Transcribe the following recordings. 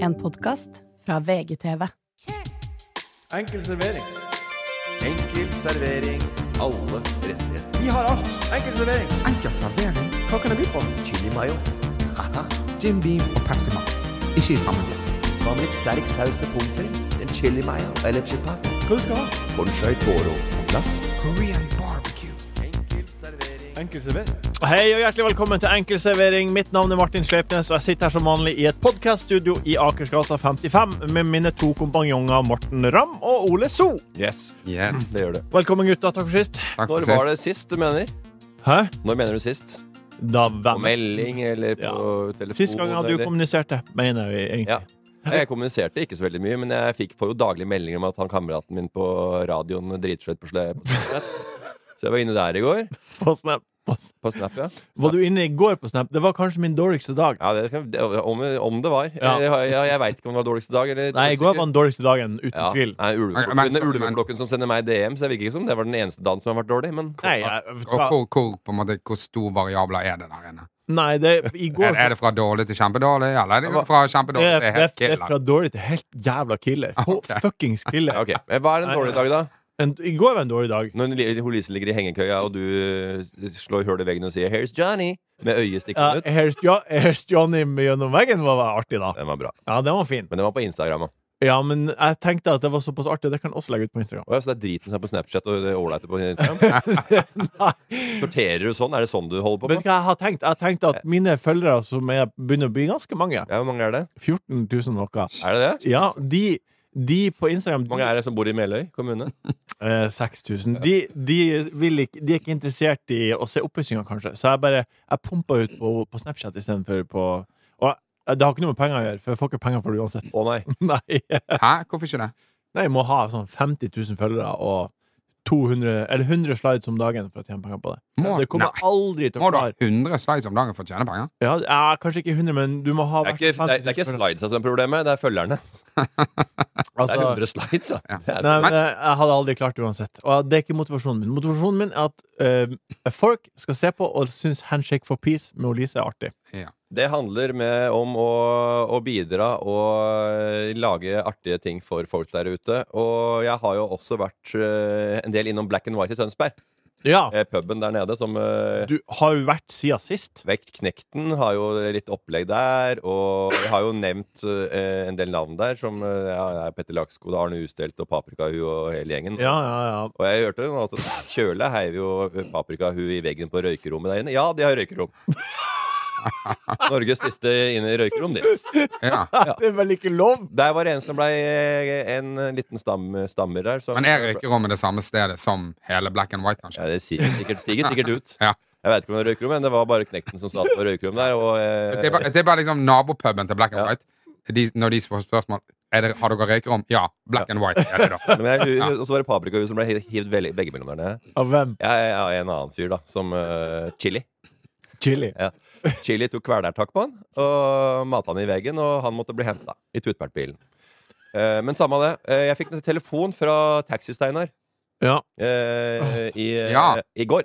En podkast fra VGTV. Enkel servering. Enkel servering. Alle rettigheter. Vi har alt. Enkel servering. Enkel servering, Hva kan jeg by på? Chili mayo. Haha. Jim Beam og Pepsi Max. Ikke i samme glass. Hva med litt sterk saus til pommes frites? En chili mayo eller chipat? Hva du skal ha? Bonchai toro på glass. Korean barbecue. Enkel servering. Enkel servering. Hei og hjertelig velkommen til Enkel servering. Mitt navn er Martin Sleipnes, og jeg sitter her som vanlig i et podkaststudio i Akersgata 55 med mine to kompanjonger Morten Ramm og Ole So. Yes. Mm, Det gjør det. Velkommen, gutta. Takk for sist. Takk for Når sist. var det sist du mener? Hæ? Når mener du sist? Da På hvem? melding eller på telefon? Sist gang hadde du eller- kommunisert det, mener vi egentlig. Ja. Jeg kommuniserte ikke så veldig mye, men jeg fikk, får jo daglige meldinger om at han kameraten min på radioen dritslutt på slep. Så jeg var inne der i går. På Snap. På Snap. På Snap, ja. Var du inne i går på Snap? Det var kanskje min dårligste dag. ja det, kan- det- om, om det var. Ja. Jeg, jeg, jeg veit ikke om det var dårligste dag. Eller, Nei, i går var den dårligste dagen, uten Ja. tvil. Nei, ulveflokken, Men- det er ulveflokken som sender meg DM, så jeg virker ikke som det var den eneste dagen som har vært dårlig. Men Nei, jeg, Og hvor, hvor, på en måte, hvor stor variabler er det der inne? nei det, i går Er, er det fra dårlig til kjempedårlig, eller er det Altså, fra Det kjempedårlig er, til det, helt er, det er fra killer? dårlig til helt jævla killer. Ok. Fuckings killer. Ja, ok, Men Hva er en Nei, dårlig nei. dag, da? En, I går var en dårlig dag. Når li- hun Lise ligger i hengekøya, og du eh, slår hull i veggen og sier 'Here's Johnny' med øyet Ja, stikkende ut. Here's Jo- Here's Johnny gjennom veggen var var artig, da. Den var bra. Ja, den var fin. Men den var på Instagram. også. Ja, men jeg tenkte at det var såpass artig. Det kan jeg også legge ut på Instagram. Å, ja, så det er driten som er på Snapchat og det ålreite på Instagram? Nei. Sorterer du sånn? Er det sånn du holder på Vet med? du hva jeg har tenkt? Jeg har tenkt at mine følgere, som er, begynner å bli ganske mange Ja, hvor mange er det? 14 000 noe Er det det? Ja, de, de på Instagram Hvor mange er det som bor i Meløy kommune? Eh, 6000. De, de, vil ikke, de er ikke interessert i å se oppussinga, kanskje. Så jeg bare Jeg pumpa ut på, på Snapchat istedenfor på Og jeg- det har ikke noe med penger å gjøre, for jeg får ikke penger for det uansett. Å nei. Nei. Hæ? Hvorfor ikke det? Nei, jeg må ha sånn 50 000 følgere og 200 Eller 100 slides om dagen for å tjene penger på det. Må, det kommer nei. jeg aldri til å Må du ha klare. 100 slides om dagen for å tjene penger? Ja, ja, kanskje ikke 100, men du må ha Det er ikke, det er, det er ikke slidesa som er problemet, det er følgerne. Det er 100 slides, da. Det er, Altså, Nei, men eh, jeg hadde aldri klart det uansett. Og det er ikke motivasjonen min. Motivasjonen min er at eh, folk skal se på og synes 'Handshake for peace' med Olise er artig. det handler med, om å, å bidra og lage artige ting for folk der ute. Og jeg har jo også vært eh, en del innom Black and White i Tønsberg. Ja. Eh, puben der nede som eh, Du har jo vært siden sist. Vektknekten har jo litt opplegg der, og jeg har jo nevnt eh, en del navn der, som eh, ja, det er Petter Lakskod, Arne Ustelt og Paprikahu og hele gjengen. Ja, ja, ja. Og jeg hørte jo at Kjøle heiv jo paprikahu i veggen på røykerommet der inne. Ja, de har røykerom. Norges siste inne i røykerom, de. Ja. Det er vel ikke lov? Der var det en som blei en liten stam, stammer der. Som, Men er røykerommet det samme stedet som hele Black and White, kanskje? Ja, det stiger sikkert, stiger sikkert ut. Ja. Jeg veit ikke om det er røykerom, men det var bare knekten som sa at det var røykerom der. Og, eh, Det er bare, det er bare liksom nabopuben til Black and Ja. White. De, når de får spørsmål er det, Har dere røykerom, ja. Black and White er det, da. men jeg, og så var det paprikahu som ble hivd veldig- begge mellom der nede. Av hvem? Jeg er en annen fyr, da, som eh, chili. Chili. Ja. Chili tok kvelertak på han og mata han i veggen, og han måtte bli henta i tutbertbilen. Eh, men samme av det. Eh, jeg fikk en telefon fra Taxi-Steinar Ja. eh, i, Ja. i går.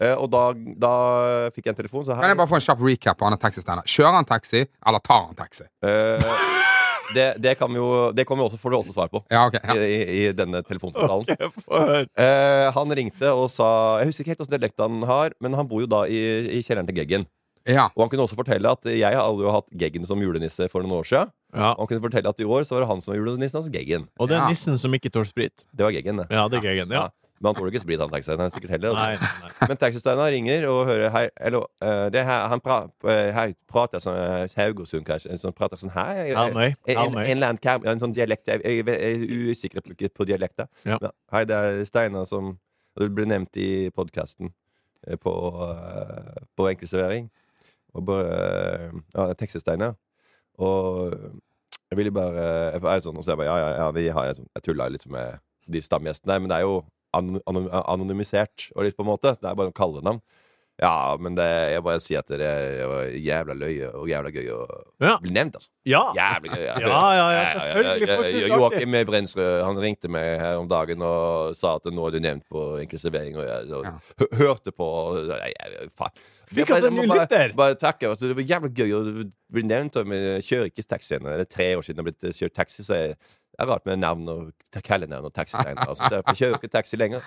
Eh, og da, da fikk jeg en telefon, så Kan her jeg bare få en kjapp recap på han er taxisteinar? Kjører han taxi, eller tar han taxi? eh, det, det kan vi jo Det kommer vi også, får du også svar på Ja, ok. i, Ja. i, i denne telefonsamtalen. Jeg får høre. Eh, han ringte og sa Jeg husker ikke helt åssen dialekt han har, men han bor jo da i, i kjelleren til Geggen. ja. Og han kunne også fortelle at jeg har aldri hatt Geggen som julenisse for noen år siden. Ja. Og han kunne fortelle at i år så var det han som var julenissen hans, Geggen. Og det er Ja. nissen som ikke tåler sprit. Det var Geggen, det. Ja, det er Gegen. Ja. Ja. Men han tåler ikke sprit, han taxisteinar sikkert heller. Nei, altså. nei. Men taxisteinar ringer og hører Hei, eller, eh, det her, han pra, eh, her prater sånn eh, Haugesund, kanskje. En sånn prater sånn her. eh, Hermøy, En, en, Hermøy. en eller annen kar- en sånn dialekt. Jeg, jeg, jeg er usikker på, på dialekter. Ja. Men, Hei, det er Steinar som og Det ble nevnt i podkasten på, eh, på Enkeltservering. Og bare eh, Ja, Texas-Steinar. Og jeg ville bare Jeg er sånn, og så jeg bare Ja, ja, ja, vi har liksom, Jeg, jeg tulla litt med de stamgjestene, men det er jo an- anon- anonymisert og litt på en måte. Det er bare noen kallenavn. Ja, men det, jeg bare sier at det er jævla løye og jævla gøy å Ja. bli nevnt, altså. Ja! Jævlig gøy. altså. Ja, ja, ja, selvfølgelig. Ja, ja, Folk synes det er artig. Joakim Brensrød han ringte meg her om dagen og sa at nå er du nevnt på Enkel servering. Og jeg og, Ja. hø- hørte på. Og, nei, jeg- faen. Fikk Jeg bare- altså en jeg ny må bare, lytter. bare takke. Altså, det var jævlig gøy å bli nevnt. Og jeg kjører ikke taxi ennå. Det er tre år siden jeg har blitt eh, kjørt taxi, så jeg det er rart med navn og kallenavn og taxitegn. Altså, jeg kjører ikke taxi lenger.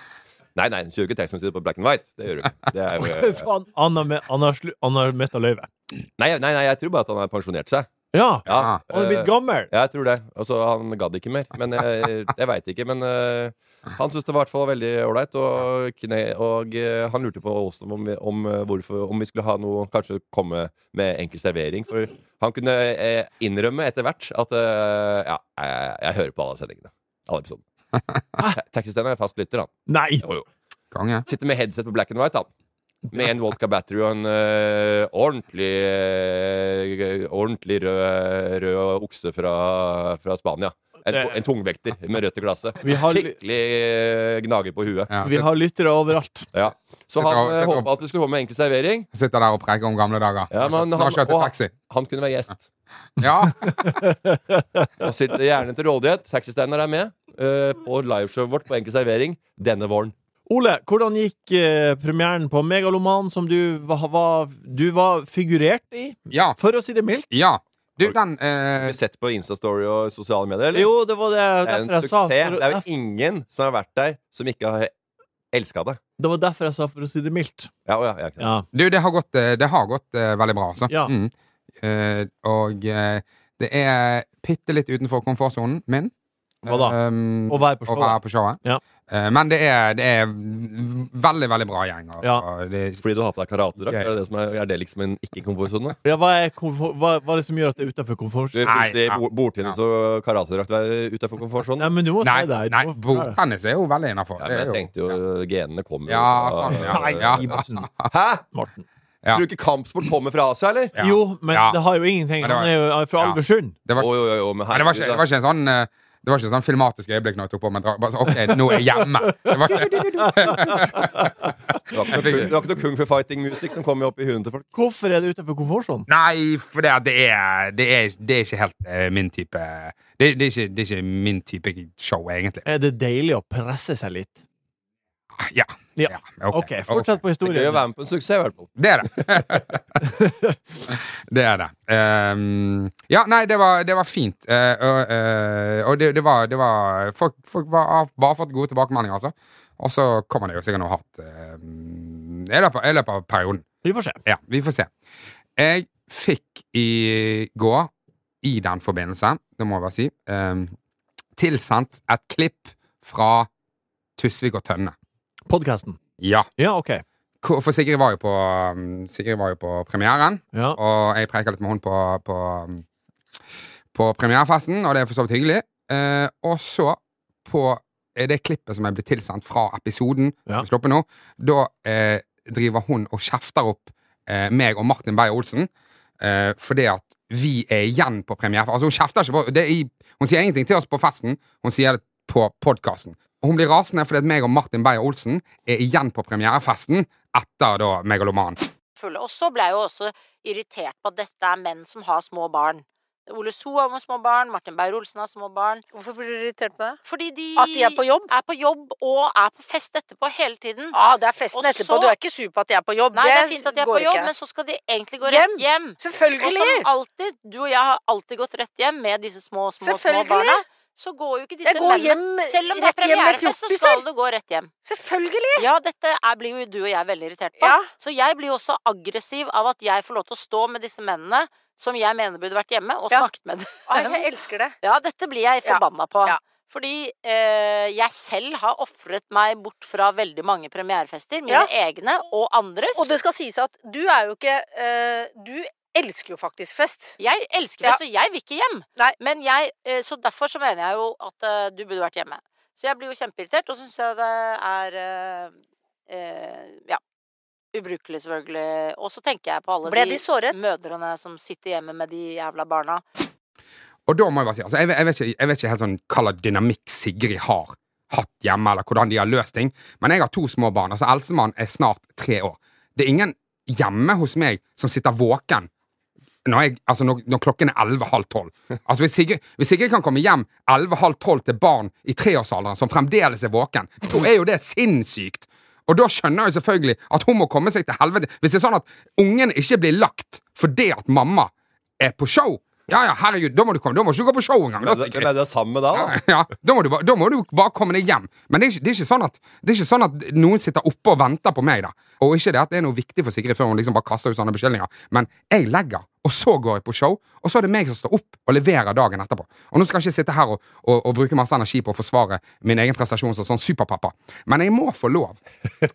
Nei, nei, kjører ikke taxi når du sitter på Black and White. Det gjør du ikke. Det er jo, eh, Så han, han, har, me- han, har slu, han har mista løyvet. Nei, nei, nei, jeg tror bare at han har pensjonert seg. Ja! Ja, Han har blitt gammel. Ja, jeg tror det. Altså, han gadd ikke mer. Men jeg, jeg veit ikke. Men eh, han syntes det var i hvert fall veldig ålreit. Og, kne- og eh, han lurte på oss om, vi- om, eh, hvorfor, om vi skulle ha noe Kanskje komme med enkel servering. For han kunne eh, innrømme etter hvert at eh, Ja, jeg, jeg hører på alle sendingene. Alle episodene. Ta- Taxistein er fast lytter, han. Nei! Jo, jo. Konge. Sitter med headset på black and white, han. Med en vodka battery og en eh, ordentlig eh, Ordentlig rød, rød okse fra, fra Spania. En, Det- en tungvekter med rødt i glasset. Vi har- Skikkelig eh, gnager på huet. Ja, Vi sitter, har lyttere overalt. Ja. Så Skal han ta- skal ta- håpa at du skulle komme med enkel servering. sitter der og preker om gamle dager. Ja, men Nå han- har kjørt og- taxi. Han kunne være gjest. Ja, Og sitter gjerne til rådighet. Taxisteinar er med eh, på liveshowet vårt på enkel servering denne våren. Ole, hvordan gikk eh, premieren på Megaloman, som du var, var, du var figurert i? ja, For å si det mildt. ja. Du, den eh, Har du sett på Instastory og sosiale medier, eller? Jo, det var det, det er derfor en jeg sa suksess. for, Det er derf- jo ingen som har vært der, som ikke har elska det. Det var derfor jeg sa for å si det mildt. Ja, å ja, ja, ja. Ja. Du, det har gått, eh, det har gått eh, veldig bra, altså. Ja. Mm. Eh, og eh, det er bitte litt utenfor komfortsonen min. Hva da? Um, Å være på å showet. være på showet. Ja. Eh, men det er, det er veldig, veldig bra gjeng. Og, Ja. og det, Fordi du har på deg karatedrakt? Gøy. Er, det det som er, er det liksom en ikke-komfortsone? Ja, hva, er komfort, hva, hva er det som gjør at det er utafor komfort? Hvis Nei, det er ja. bo- bordtennis og karatedrakt er utafor komfortsonen? Nei, men du må nei, si det. Du nei må forklare. bordtennis er jo veldig innafor. Ja, men jeg tenkte jo genene kommer jo Ja, fra- sånn, ja. Nei, Ja. Iversen. Hæ?! Morten. Ja. Tror du ikke kampsport kommer fra Asia, eller? Ja. Jo, men Ja. det har jo ingenting. Men det var- Han er jo fra Ja. Alversund. Det var, Oi, oi, oi, men nei, det var, ikke, herregud, det var ikke en sånn eh, det var ikke sånn filmatisk øyeblikk når jeg tok på meg dra- bare sånn, OK, nå er jeg hjemme. Det var ikke, det var ikke noe kung- det var ikke noe kung for fighting music som kom opp i huet til folk. Hvorfor er det utafor komfortsonen? nei, for det, at det, er, det, er, det er ikke helt eh, min type det, det, er ikke, det er ikke min type show, egentlig. Er det deilig å presse seg litt? Ja. Ja. ok, OK, fortsett på Det er gøy å historien. være med på en suksess, i hvert fall. Det er det. det er det. Ehm, ja, nei, det var, det var fint. Eh, og eh, og det, det, var, det var Folk, folk var, har bare fått gode tilbakemeldinger, altså. Og så kommer det jo sikkert noe hat ehm, i løpet i løpet av perioden. Vi får se. Ja, vi får se. Jeg fikk i går, i den forbindelse, det må jeg bare si, ehm, tilsendt et klipp fra Tusvik og Tønne. Podkasten. Ja. Ja, OK. hvor- For Sigrid var jo på, ehm, Sigrid var jo på premieren. Ja. Og jeg preika litt med hun på, på, på premierefesten, og det er for så vidt hyggelig. Eh, og så, på eh, det klippet som er blitt tilsendt fra episoden, Ja. som er sluppet nå, da eh, driver hun og kjefter opp eh, meg og Martin Beyer-Olsen eh, fordi at vi er igjen på premiere. Altså, hun kjefter ikke på det er i, Hun sier ingenting til oss på festen, hun sier det på podkasten. Hun blir rasende fordi at meg og Martin Beyer-Olsen er igjen på premierefesten etter da Megaloman. fulle. Og så ble jeg jo også irritert på at dette er menn som har små barn. Ole So har små barn, Martin Beyer-Olsen har små barn. Hvorfor blir du irritert på det? Fordi de, At de er på jobb? er på jobb og er på fest etterpå hele tiden. Ja, det er festen Og etterpå. så- Du er ikke sur på at de er på jobb. Nei, det er fint at de er går på jobb, ikke. men så skal de egentlig gå Hjem! rett hjem. Og Selvfølgelig! som alltid, du og jeg har alltid gått rett hjem med disse små, små, små Selvfølgelig! barna. Så går jo ikke disse Jeg går hjem- mennene Selv om det er rett hjem med premierefest, så fjortiser. skal du gå rett hjem. Selvfølgelig! Ja, dette er, blir jo du og jeg veldig irritert på. Ja. Så jeg blir jo også aggressiv av at jeg får lov til å stå med disse mennene som jeg mener burde vært hjemme, og Ja. snakket med Ai, dem. jeg elsker det. Ja, dette blir jeg Ja. forbanna på. Ja. Fordi eh, jeg selv har ofret meg bort fra veldig mange premierefester. Mine Ja. egne og andres. Og det skal sies at du er jo ikke eh, Du elsker jo faktisk fest. Jeg elsker det, Ja. så jeg vil ikke hjem. Nei. Men jeg, eh, så derfor så mener jeg jo at eh, du burde vært hjemme. Så jeg blir jo kjempeirritert, og syns jeg det er eh, eh, Ja. Ubrukelig, selvfølgelig. Og så tenker jeg på alle Ble de de såret? mødrene som sitter hjemme med de jævla barna. Og da må jeg bare si, altså, jeg, vet- jeg, vet ikke, jeg vet ikke helt sånn hva slags dynamikk Sigrid har hatt hjemme, eller hvordan de har løst ting, men jeg har to små barn. altså Eldstemann er snart tre år. Det er ingen hjemme hos meg som sitter våken når, jeg, altså når, når klokken er 11.30 12. Altså hvis, Sigrid, hvis Sigrid kan komme hjem 11.30 12 til barn i treårsalderen som fremdeles er våken, så er jo det sinnssykt. Og da skjønner jeg selvfølgelig at hun må komme seg til helvete. Hvis det er sånn at ungen ikke blir lagt fordi at mamma er på show, ja ja, herregud, da må du komme, da må ikke du gå på show engang. da, Hvem er- Sigrid. hvem er det sammen med da? da? Ja, da må, du bare, da må du bare komme deg hjem. Men det er, ikke, det, er ikke sånn at, det er ikke sånn at noen sitter oppe og venter på meg. da Og ikke det at det er noe viktig for Sigrid før hun liksom bare kaster ut sånne beskyldninger. Men jeg legger, og så går jeg på show, og så er det meg som står opp og leverer dagen etterpå. Og nå skal jeg ikke sitte her og, og, og bruke masse energi på å forsvare min egen prestasjon som sånn superpappa, men jeg må få lov,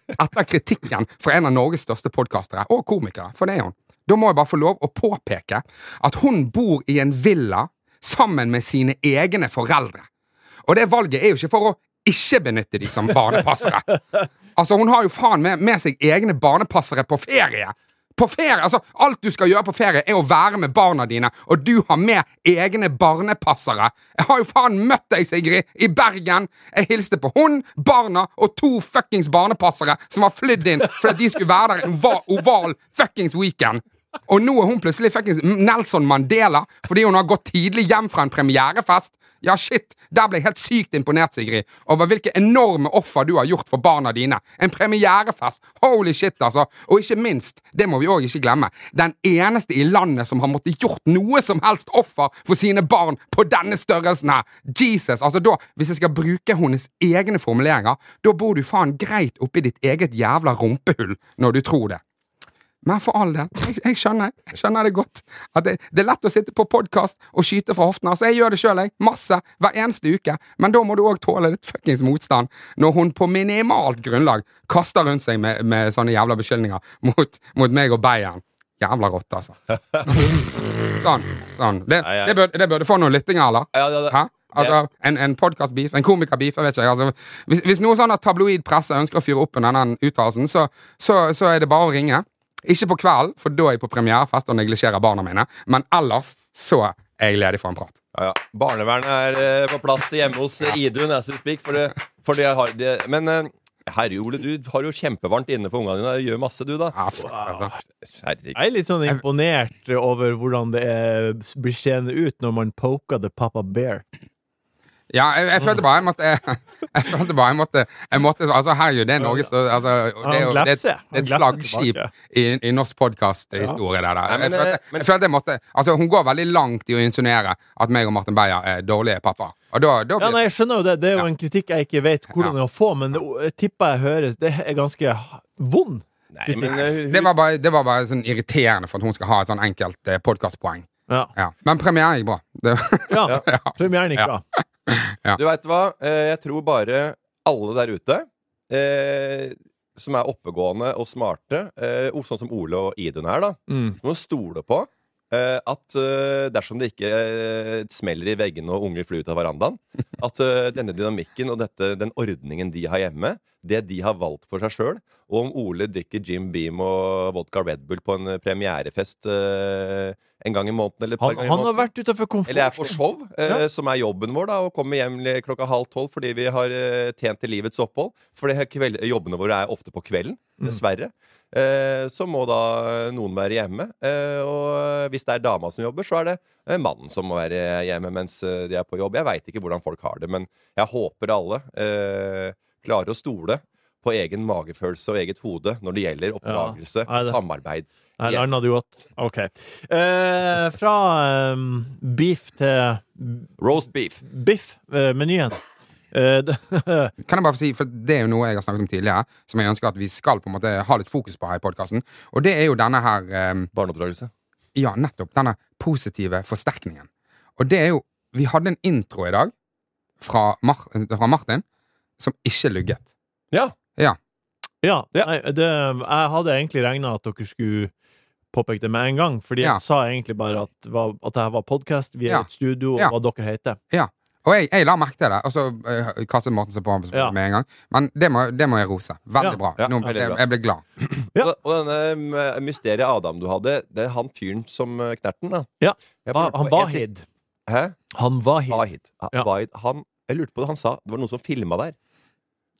etter kritikken fra en av Norges største podkastere og komikere, for det er hun, da må jeg bare få lov å påpeke at hun bor i en villa sammen med sine egne foreldre. Og det valget er jo ikke for å ikke benytte de som barnepassere. Altså, hun har jo faen med, med seg egne barnepassere på ferie! På ferie! Altså, alt du skal gjøre på ferie, er å være med barna dine, og du har med egne barnepassere! Jeg har jo faen møtt deg, Sigrid, i Bergen! Jeg hilste på hun, barna og to fuckings barnepassere som var flydd inn fordi de skulle være der en ova- oval fuckings weekend! Og nå er hun plutselig fuckings Nelson Mandela fordi hun har gått tidlig hjem fra en premierefest. Ja, shit, Der ble jeg helt sykt imponert, Sigrid, over hvilke enorme offer du har gjort for barna dine. En premierefest! Holy shit, altså. Og ikke minst, det må vi òg ikke glemme, den eneste i landet som har måttet gjort noe som helst offer for sine barn på denne størrelsen her. Jesus! Altså, da, hvis jeg skal bruke hennes egne formuleringer, da bor du faen greit oppi ditt eget jævla rumpehull når du tror det. Men for all del, jeg, jeg, skjønner, jeg skjønner det godt. At det, det er lett å sitte på podkast og skyte fra hoften. Altså, jeg gjør det sjøl, jeg. Masse. Hver eneste uke. Men da må du òg tåle litt fuckings motstand når hun på minimalt grunnlag kaster rundt seg med, med sånne jævla beskyldninger mot, mot meg og Bayern. Jævla rotte, altså. Sånn. sånn. Det, Nei, jeg- det, burde, det burde få noen lyttinger, eller? Ja, ja, det- Hæ? Altså, en, en podcast-beef, en komiker-beef, jeg vet ikke. Altså, hvis, hvis noen sånn at tabloid presse ønsker å fyre opp under den uttalelsen, så, så, så er det bare å ringe. Ikke på kvelden, for da er jeg på premierefest og neglisjerer barna mine. Men ellers så er jeg ledig for en prat. Ja, ja. Barnevernet er eh, på plass hjemme hos eh, Idun Asses Speak. For det, for det har, det, men eh, herre Ole, du har jo kjempevarmt inne for ungene dine. Du gjør masse, du, da. Ja, fuck, altså. Herregud. Jeg er litt sånn imponert over hvordan det er, blir seende ut når man poker the papa bear. ja jeg, jeg følte bare jeg måtte Jeg, jeg følte bare jeg måtte, jeg måtte Altså, herregud, det er Norges største altså, det, er jo- Han det, glefser. er- det er et Han glefser slagskip tilbake. i, i norsk podkast-historie, det der. Nei, men, Jeg følte, eh, men- jeg følte jeg måtte Altså, hun går veldig langt i å insinuere at meg og Martin Beyer er dårlige pappaer. Og da, da Ja, blir nei, jeg skjønner jo det. Det er jo Ja. en kritikk jeg ikke vet hvordan å få, men det jeg tipper jeg høres Det er ganske vond. Nei, men, eh, hun- det var, bare, det var bare sånn irriterende for at hun skal ha et sånn enkelt eh, podkastpoeng. Ja. Ja. Men premieren gikk bra. Det, ja. Premieren gikk Ja. bra. Ja. Du veit hva? Eh, Jeg tror bare alle der ute eh, som er oppegående og smarte, eh, og sånn som Ole og Idun her, da, Mm. må stole på eh, at eh, dersom det ikke eh, smeller i veggene og unger flyr ut av verandaen, at eh, denne dynamikken og dette, den ordningen de har hjemme, det de har valgt for seg sjøl, og om Ole drikker Jim Beam og vodka Red Bull på en premierefest eh, en gang i måneden eller et par Han, ganger i han har måneden vært utafor eller er på komfortsonen. show, eh, som er jobben vår, da, og kommer hjem li- klokka halv tolv fordi vi har eh, tjent til livets opphold. For det her kveld, jobbene våre er ofte på kvelden, Mm. dessverre. Eh, så må da eh, noen være hjemme. Eh, og hvis det er dama som jobber, så er det eh, mannen som må være hjemme mens eh, de er på jobb. Jeg veit ikke hvordan folk har det, men jeg håper alle eh, klarer å stole på egen magefølelse og eget hode når det gjelder oppdragelse Nei, og det- samarbeid. Nei, Ja. landa du godt. OK. Eh, fra eh, beef til Roast beef. biff-menyen. Eh, det- kan jeg bare få si, for det er jo noe jeg har snakket om tidligere, som jeg ønsker at vi skal på en måte ha litt fokus på her i podkasten. Og det er jo denne her eh, Barneoppdragelse. Ja, nettopp. Denne positive forsterkningen. Og det er jo Vi hadde en intro i dag fra, Mar fra Martin som ikke lugget. Ja. ja, Ja. Nei, det, jeg hadde egentlig regna at dere skulle påpeke det med en gang, fordi Ja. jeg sa egentlig bare at, hva- at dette var podkast, vi er Ja. et studio, og Ja. hva dere heter. Og jeg, jeg la merke til det, og så eh, kastet Morten seg på med Ja. en gang. Men det må, det må jeg rose. Veldig Ja. bra. Ja, Nå, veldig jeg, bra. jeg ble glad. Ja. Og, og denne eh, mysteriet Adam du hadde, det er han fyren som eh, knerten, da. Ja. Jeg Ba, lurte han på en siste- Wahid. Hæ? Han Wahid. Wahid. Ja, Ja. Wahid. Han, jeg lurte på det han sa. Det var noen som filma der.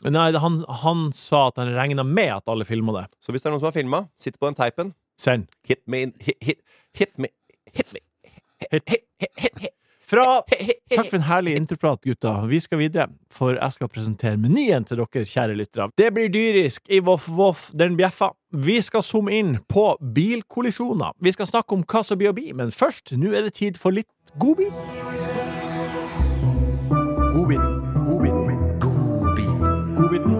Nei, det- han, han sa at han regna med at alle filma det. Så hvis det er noen som har filma, sitter på den teipen Send. Hit me in Hit, hit, hit me Hit me Fra Takk for en herlig introprat, gutta. Vi skal videre, for jeg skal presentere menyen til dere, kjære lyttere. Det blir dyrisk i Voff Voff, den bjeffa. Vi skal zoome inn på bilkollisjoner. Vi skal snakke om hva som blir å bli, men først, nå er det tid for litt godbit. Godbit. Godbit. Godbiten.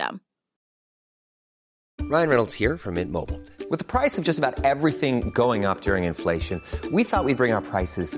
Ryan Reynolds here from Mint Mobile. With the price of just about everything going up during inflation, we thought we'd bring our prices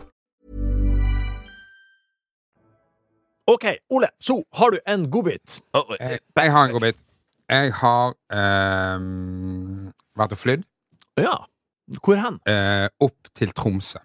OK, Ole, så har du en godbit. Oh, Eh, Jeg, jeg har en godbit. Jeg har ehm, vært og flydd Ja. Hvor hen? eh, opp til Tromsø.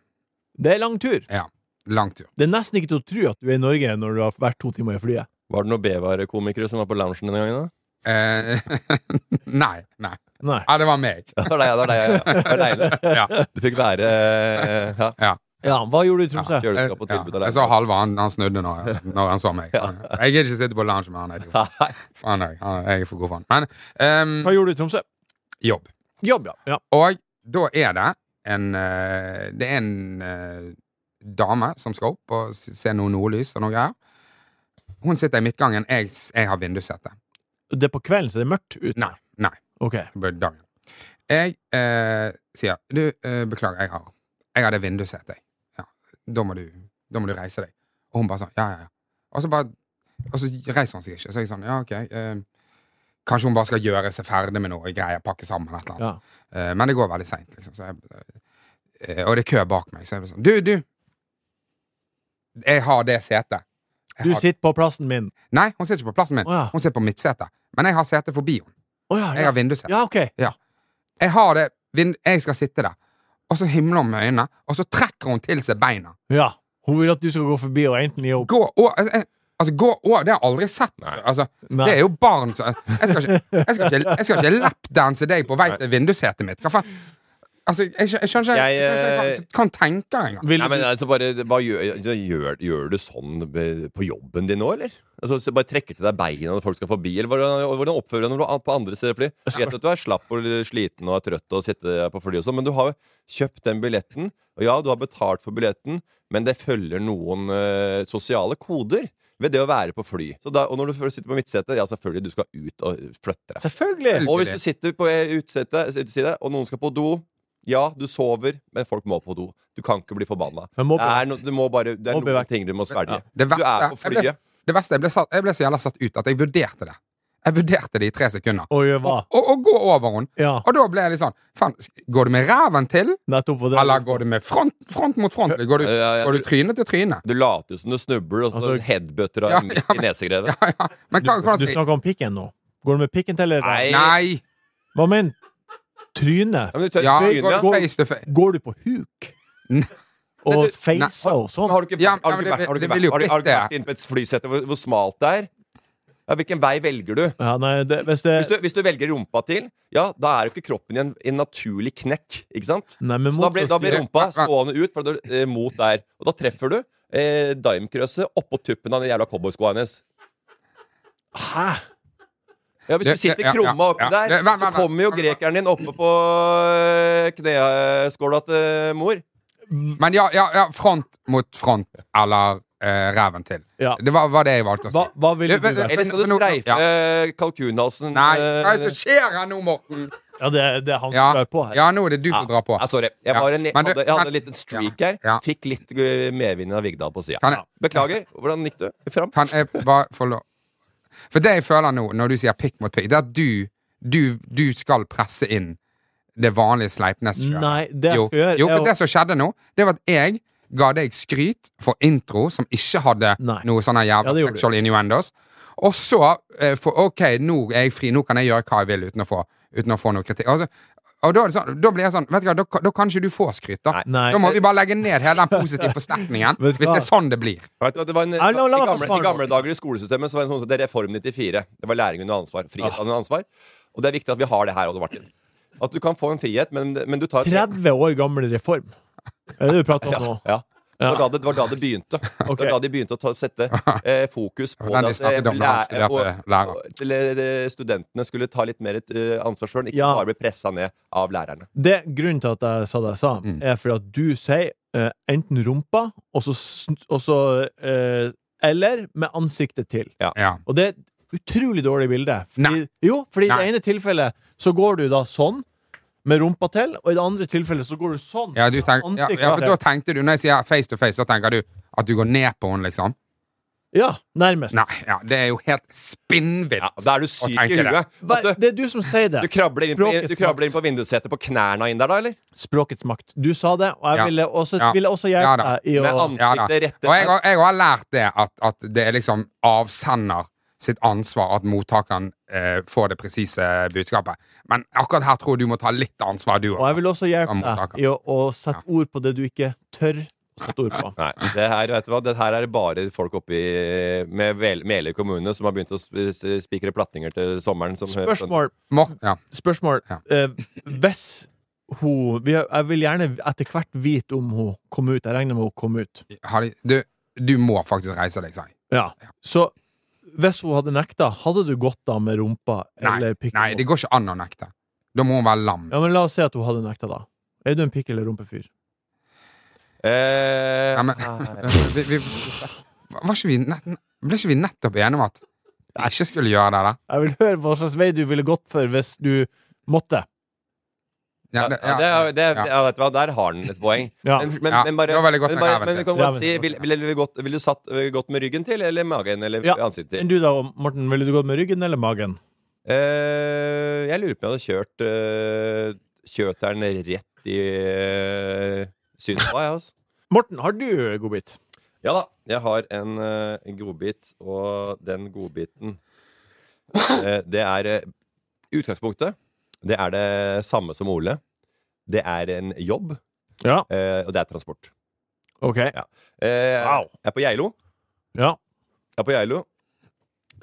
Det er lang tur. Ja. Lang tur. Det er nesten ikke til å tro at du er i Norge når du har vært to timer i flyet. Var det noen Bevare-komikere som var på loungen den gangen? da? Eh, nei. Nei. Nei. Ja, det var meg. Ja, det var deg, ja, det var deg, ja, ja. Det var deilig. Ja. Du fikk være eh, Ja, Ja, hva gjorde du i Tromsø? ja kjøleskap og tilbud Jeg alene. så Halvard, han, han snudde når, når han så meg. Jeg gidder ikke sitte på lounge med han. Jeg, tror. faen, jeg, han- jeg er for god for han. Men ehm, Hva gjorde du i Tromsø? jobb. Jobb, ja. ja. Og da er det en eh, Det er en eh, dame som skal opp og s- se noe nordlys og noe greier. Hun sitter i midtgangen. Jeg, s- jeg har vindussete. Det er på kvelden, så det er mørkt ute. Nei. nei Ok. det blir dagen. Jeg eh, sier Du, eh, beklager, jeg har, jeg har det vindussetet, jeg. Ja, da, må du, da må du reise deg. Og hun bare sånn, ja, ja, ja. Og så bare Og så reiser hun seg ikke. Så jeg sånn, ja, OK. Eh, kanskje hun bare skal gjøre seg ferdig med noe greier, pakke sammen et eller annet. Ja. Eh, men det går veldig seint, liksom. Så jeg, eh, og det er kø bak meg, så jeg blir sånn Du, du! Jeg har det setet. Jeg Du har- sitter på plassen min. Nei, hun sitter ikke på plassen min. Å ja. Hun sitter på mitt sete. Men jeg har sete forbi henne. Å ja, Jeg ja. har vindussete. ja, ok. Jeg har det vind Jeg skal sitte der. Og så himler hun med øynene, og så trekker hun til seg beina. Ja. Hun vil at du skal gå forbi og enten gi opp. Gå og Altså, jeg- altså, gå og Det har jeg aldri sett før. Altså, Nei. det er jo barn som Jeg skal ikke, jeg skal ikke, jeg skal ikke lapdanse deg på vei til vindussetet mitt. Hva faen? Altså, jeg, skjø- jeg skjønner ikke Jeg, skjønner ikke- jeg kan, kan tenke engang. eh, Vil Nei, men du... altså bare, hva gjør, gjør, gjør du sånn be- på jobben din nå, eller? Altså, så bare trekker til deg beina når folk skal forbi? Eller hvordan, hvordan oppfører du deg når du er på andre steder? Fordi, jeg vet at du er slapp og sliten og er trøtt og sitter på flyet og sånn, men du har jo kjøpt den billetten. Og ja, du har betalt for billetten, men det følger noen eh, sosiale koder ved det å være på fly. Så da, og når du sitter på midtsetet, ja, selvfølgelig, du skal ut og flytte deg. Selvfølgelig! Og hvis du sitter på utsete, uteside, og noen skal på do Ja, du sover, men folk må på do. Du kan ikke bli forbanna. Men må det er, no, du må bare, det er Må bli noen vekk. ting du må svelge. Det Du er på verste jeg ble, flyet. det verste, jeg, ble satt, jeg ble så jævla satt ut at jeg vurderte det. Jeg vurderte det i tre sekunder. Og gjør hva? Og, og gå over henne. Ja, Og da ble jeg litt sånn Faen, går du med ræven til? nettopp. og det- Eller går du med front, front mot front? Går du, Ja, ja, ja. går du tryne til tryne? Du later jo som du snubler, og så Altså- headbutter du Ja, midt ja, i men- nesegrevet. Ja, ja. Men hva, hva, Du snakker om pikken nå. Går du med pikken til, eller? Nei. Nei! Hva med trynet? Ja, men du tør Ja, trynet. går Har face to face. Går du på huk? Men Og du- face og sånn? du ikke, Ja, har du men ikke det- vært- har du det ikke vil jo vært- har du- har du ikke ikke vært inne på et flysete hvor, hvor smalt det er? Ja, hvilken vei velger du? Ja, nei, det, hvis det... Hvis du, hvis du velger rumpa til, ja, da er jo ikke kroppen i en, en naturlig knekk. Ikke sant? Nei, men Så da motsatt blir, da blir side- rumpa Ja. stående ut for da, eh, mot der. Og da treffer du eh, daimkrøset oppå tuppen av den jævla cowboyskoa hennes. Hæ? Ja, Hvis Ja, du sitter ja, ja, krumma ja, oppi ja. der, Ja, vent, så vent, kommer jo vent, vent. grekeren din oppe på øh, kneskåla til eh, mor. Men ja, ja, ja front mot front, eller eh, ræven til. Ja. Det var, var det jeg valgte å si. Hva, hva ville Ja, du men- vært? er Eller skal du Men nå- streife øh, kalkunhalsen? Nei, øh, hva er det som skjer her nå, Morten? Ja, det, er- det er han som Ja, drar på her. ja nå er det du som drar på. Ja, sorry. Jeg, Ja. var en, jeg, Men du- hadde, jeg hadde men- en liten streak her. Ja. Fikk litt øh, medvind av Vigdal på sida. Kan jeg- Beklager. Hvordan gikk du fram? Kan jeg bare få lov For det jeg føler nå, når du sier pikk mot pikk, det er at du, du, du skal presse inn det vanlige Sleipnes kjøret. Nei, det jeg jo. skal gjøre jo, er å- for det som skjedde nå, det var at jeg ga deg skryt for intro som ikke hadde Nei. noe sånne Ja, jævla det gjorde du. sexual innuendos. Og så eh, for, OK, nå er jeg fri, nå kan jeg gjøre hva jeg vil uten å få, uten å få noe kritikk. Altså, og da, er det sånn, da blir jeg sånn Vet du hva, da, da kan ikke du få skryt, da. Nei. Da må vi bare legge ned hele den positive forsterkningen, Vet hvis du hva? det er sånn det blir. Vet du hva, Det var en, la- la i, meg gamle, forsvare I gamle meg. dager i skolesystemet Så var det sånn som det er Reform 94. Det var læring under ansvar. Ah. Frihet under ansvar. Og det er viktig at vi har det her, Odd Martin. At du kan få en frihet, men, men du tar 30 år gammel reform. Er det du prater om nå? Ja, ja. Det var, da det, det var da det begynte. Ok. Det var da de begynte å ta, sette eh, fokus på Den de at, snakket om da han læ- og, studerte lærer. og, til, eh, studentene skulle ta litt mer eh, ansvar sjøl, ikke Ja. bare bli pressa ned av lærerne. Det, grunnen til at jeg sa det jeg sa, Mm. er fordi at du sier eh, enten rumpa, og så, sn- og så eh, Eller med ansiktet til. Ja. Og det er et utrolig dårlig bilde. Fordi, Nei. jo, fordi i det Nei. ene tilfellet så går du da sånn, med rumpa til, og i det andre tilfellet så går du sånn. Ja, du tenk, ja, Ansiktet ja, for til. da tenkte du, når jeg sier face to face, så tenker du at du går ned på henne, liksom? Ja, nærmest. Nei, ja, det er jo helt spinnvilt. Ja, da er du syk i tenker det. huet. Hva, At du, det er du som sier det. du krabler inn på, Språkets du krabler inn på vindussetet på knærne inn der, da, eller? Språkets makt. Du sa det, og jeg Ja. ville også, Ja. ville også Ja hjelpe da. deg i å Med Ja, da. ansiktet rett Og jeg, har- jeg har lært det at, at det er liksom avsender sitt ansvar at mottakeren eh, får det presise budskapet. Men akkurat her tror jeg du må ta litt ansvar, du Og jeg òg. vil også hjelpe Som deg mottaker. i å, å sette ord på det du ikke tør å sette ord på. Nei, det her, vet du hva? det her er det bare folk oppi med Vel- Meløy kommune som har begynt å sp- sp- spikre platninger til sommeren. Som sånn. Spørsmål. Ja. Spørsmål. Ja. Eh, hvis hun vi, Jeg vil gjerne etter hvert vite om hun kom ut. Jeg regner med hun kom ut. Har de- Du, du må faktisk reise deg, sa jeg. Ja. Så hvis hun hadde nekta, hadde du gått da med rumpa Nei, eller pikk? nei, det går ikke an å nekte. Da må hun være lam. Ja, men la oss si at hun hadde nekta, da. Er du en pikk- eller rumpefyr? Eh, Ja, men, vi, vi, var ikke vi nett, ble ikke vi nettopp enige om at vi ikke skulle gjøre det? der? Jeg vil høre hva slags vei du ville gått for hvis du måtte. Ja, det, er- det, er- ja. ja, vet du hva, der har han et poeng. Ja. Men, men, Ja, men bare, det var veldig godt men, med bare, ræven men du til. kan godt Ræven si til. Ville vil, du gått, vil du satt øh, godt med ryggen til, eller magen, eller Ja. ansiktet til? Men du da, Morten, ville du gått med ryggen eller magen? Eh, jeg lurer på om jeg hadde kjørt eh, kjøteren rett i uh, synspå, jeg, altså. Morten, har du godbit? Ja da, jeg har en eh, en godbit, og den godbiten eh, Det er eh, Utgangspunktet, det er det samme som Ole. Det er en jobb, Ja. eh, og det er transport. OK. Eh, Wow. Jeg er på Geilo. Ja. Jeg er på Geilo.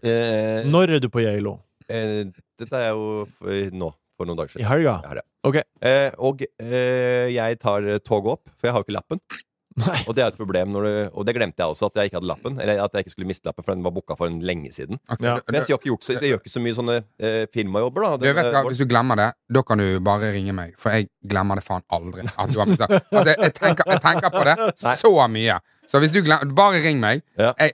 Eh, Når er du på Geilo? eh, dette er jo f- nå, for noen dager I siden. helga? Jeg har det. OK. Eh, og eh, jeg tar eh, toget opp, for jeg har jo ikke lappen. Nei. Og det er et problem når du, Og det glemte jeg også, at jeg ikke hadde lappen. Eller at jeg ikke skulle miste lappen, for den var booka for en lenge siden. Ok, Ja. du- Men jeg, har ikke gjort så, jeg gjør ikke så mye sånne eh, firmajobber, da. Du vet hva, eh, Hvis du glemmer det, da kan du bare ringe meg, for jeg glemmer det faen aldri. At du har mistet- altså, jeg, jeg, tenker, jeg tenker på det så mye. Så hvis du glemmer Bare ring meg. Ja. Jeg,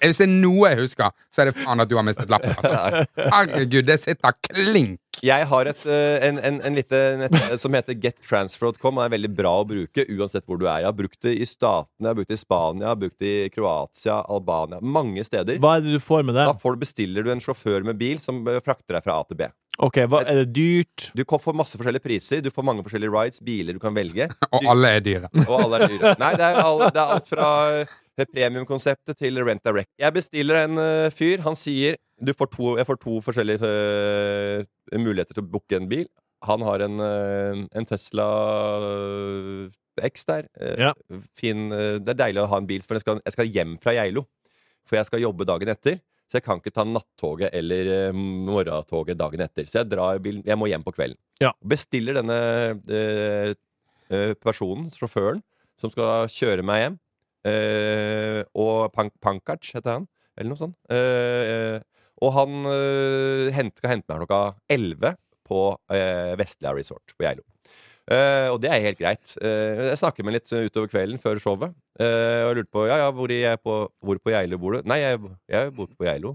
hvis det er noe jeg husker, så er det faen at du har mistet lappen. Altså. Herregud, det sitter klink. jeg har et, eh, en, en, en lite nettsted som heter gettransfer.com. og er veldig bra å bruke uansett hvor du er. Jeg har brukt det i Statene, jeg har brukt det i Spania, jeg har brukt det i Kroatia, Albania. Mange steder. Hva er det du får med det? Da får, bestiller du en sjåfør med bil som eh, frakter deg fra A til B. OK, hva, er det dyrt? Du får masse forskjellige priser, du får mange forskjellige rides, biler du kan velge. Og alle er dyre. Og alle er dyre. Nei, det er, all, det er alt fra eh, premiumkonseptet til rent a wreck. Jeg bestiller en eh, fyr. Han sier du får to, jeg får to forskjellige eh, muligheter til å booke en bil. Han har en, eh, en Tesla eh, X der. Eh, Ja. fin, eh, det er deilig å ha en bil, for jeg skal, jeg skal hjem fra Geilo. For jeg skal jobbe dagen etter. Så jeg kan ikke ta nattoget eller eh, morgentoget dagen etter. Så jeg, drar bilen, jeg må hjem på kvelden. Ja. Bestiller denne eh, eh, personen, sjåføren, som skal kjøre meg hjem. eh, og Pank Pankaj heter han, eller noe sånt. eh, eh, Og han øh, hent, skal hente meg klokka 11 på øh, Vestlia Resort på Geilo. Eh, og det er helt greit. Eh, jeg snakket med ham litt eh, utover kvelden før showet. Eh, og jeg lurte på ja, ja, hvor, i- jeg på, hvor på Geilo bor du? Nei, jeg, jeg bor på Geilo.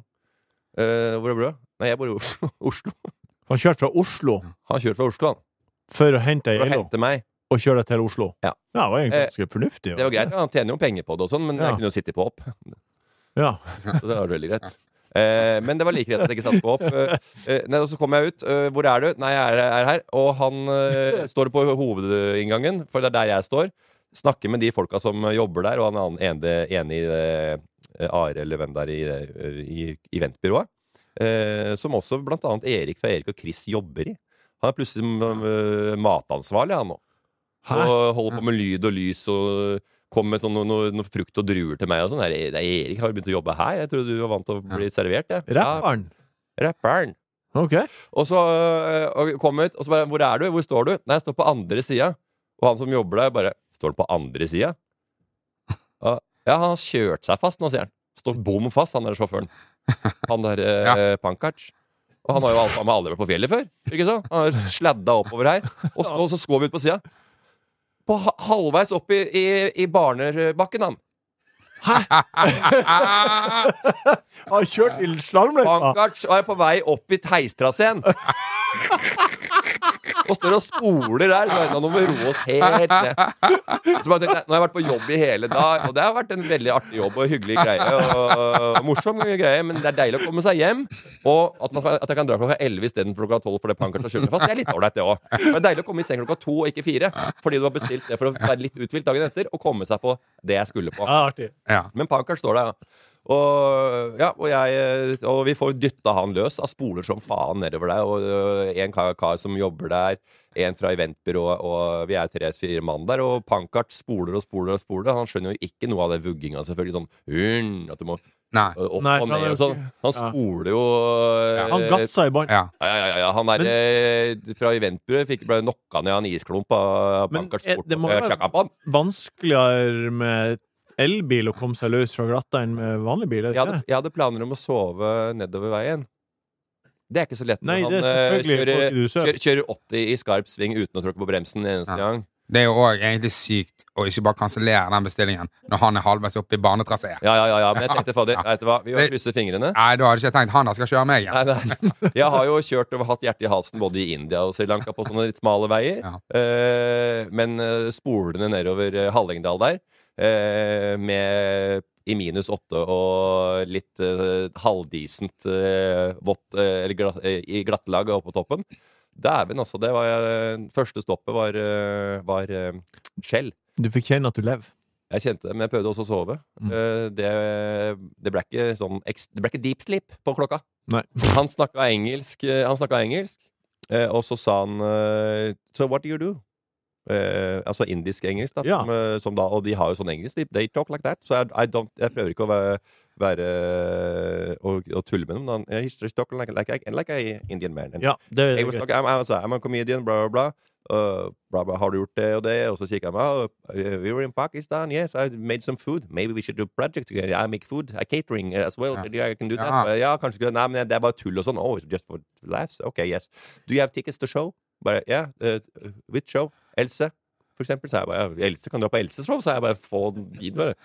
Eh, hvor bor du? Nei, jeg bor i Oslo. Oslo. Han kjørte fra Oslo Han kjørte fra Oslo, han. for å hente ei Mm. For å Elo hente meg. og kjøre det til Oslo. Ja. Eh, det var egentlig ganske fornuftig. Det var greit. Han tjener jo penger på det, og sånn men Ja. jeg kunne jo sitte på opp. Ja. Så det var veldig greit. Eh, men det var like greit at jeg ikke satte på opp. Eh, eh, nei, og så kom jeg ut. Eh, hvor er du? Nei, jeg er, er her. Og han eh, står på hovedinngangen, for det er der jeg står. Snakker med de folka som jobber der, og han er annen- ene, enig i det eh, Are eller hvem det er i, det- i eventbyrået. Eh, som også blant annet Erik fra Erik og Chris jobber i. Han er plutselig eh, matansvarlig, han nå. Hæ? Og holder på med lyd og lys og kom med sånn noe, noe, noe frukt og druer til meg og sånn. Er det- det er Erik har jo begynt å jobbe her. Jeg trodde du var vant til å bli servert, jeg. Ja, Rapperen. rapperen. OK. Og så øh, og kom ut, og så bare 'Hvor er du? Hvor står du?' Nei, jeg står på andre sida. Og han som jobber der, bare 'Står du på andre sida?' Og, Ja, han har kjørt seg fast nå, sier han. Står bom fast, han der sjåføren. Han der øh, Pankaj. Og han har jo alt, han har aldri vært på fjellet før. Ikke så? Han har sladda oppover her. Og, s- og så skår vi ut på sida. På ha- halvveis opp i, i, i Barnerbakken, han. Han kjørte i slalåmløypa! Pankaj er på vei opp i heistraseen. Og står og spoler der. Så jeg, nå må vi roe oss helt ned. Så bare tenkte jeg, Nå har jeg vært på jobb i hele dag, og det har vært en veldig artig jobb og hyggelig greie. Og morsom greie, men det er deilig å komme seg hjem. Og at, man, kan- at jeg kan dra klokka 11 istedenfor klokka 12 fordi Pankaj har kjørt meg fast, det er litt ålreit, det òg. Det er deilig å komme i seng klokka to og ikke fire, fordi du har bestilt det for å være litt uthvilt dagen etter, og komme seg på det jeg skulle på. Ja, artig. Ja. Men Pankaj står der, ja. Og, ja, og, jeg, eh, og vi får dytta han løs. Han spoler som faen nedover der. Og øh, en kar, kar som jobber der, en fra eventbyrået, og vi er tre-fire mann der. Og Pankaj spoler og spoler og spoler. Han skjønner jo ikke noe av det vugginga, selvfølgelig. Sånn «Hurn», at du må Nei. øh, opp Nei, for og han ned er og jo sånn. ikke- Han Ja. spoler jo øh, Han gassa i bånn. Ja. ja, ja, ja, ja. Han der øh, fra eventbyrået fikk- ble knocka ned av en isklump av Men, Pankaj. eh, det må sport- jo øh, være- sjakka på han. Vanskeligere med elbil å komme seg løs fra glatta enn med vanlig bil? er det Jeg ikke hadde, jeg hadde planer om å sove nedover veien. Det er ikke så lett når Nei, det er han eh, selvfølgelig kjører, folk du ser. kjører, kjører 80 i skarp sving uten å tråkke på bremsen en eneste gang. Det er jo òg egentlig sykt å ikke bare kansellere den bestillingen når han er halvveis oppe i barnetrasé. Ja, ja, ja, ja, men jeg tenkte fader, Ja. vet du hva, vi må Det- krysse fingrene. Nei, da hadde jeg ikke tenkt han der skal kjøre meg igjen. Nei, nei. Jeg har jo kjørt og hatt hjertet i halsen både i India og Sri Lanka på sånne litt smale veier. Ja. Eh, men eh, spolene nedover eh, Hallingdal der, eh, med i minus åtte og litt eh, halvdisent eh, vått eh, eller glatt, eh, i glattlag oppå toppen. Dæven, altså. Det var eh, Første stoppet var, eh, var eh, Skjell. det? Du fikk kjenne at du lever. Jeg kjente det, men jeg prøvde også å sove. Mm. Eh, det, det, ble ikke sånn, eks- det ble ikke deep sleep på klokka. Nei. Han snakka engelsk, eh, han snakket engelsk eh, og så sa han eh, So what do you do? Eh, altså indisk-engelsk, da, Ja. som, eh, som da. Og de har jo sånn engelsk. de- They talk like that. Så jeg, I don't, jeg prøver ikke å være, være å, å tulle med dem. men han- He's just talking like, like, like, like a Indian man. And Ja, det er jeg was greit. like, I'm, I'm, sorry, I'm a comedian, bla, bla, bla. Uh, bla, bla. Har du gjort det og det? Og så kikket jeg meg. Oh, uh, we were in Pakistan, yes, I made some food. Maybe we should do project together. I make food, I catering uh, as well. Ja. Yeah, I can do that. Ja. Uh, ja, kanskje ikke. Nei, men det er bare tull og sånn. Oh, it's just for laughs. Ok, yes. Do you have tickets to show? Bare, yeah, uh, which show? Else, for eksempel. Så jeg bare, ja, Else, kan du dra på Elses show? Så jeg bare, få den dit, bare.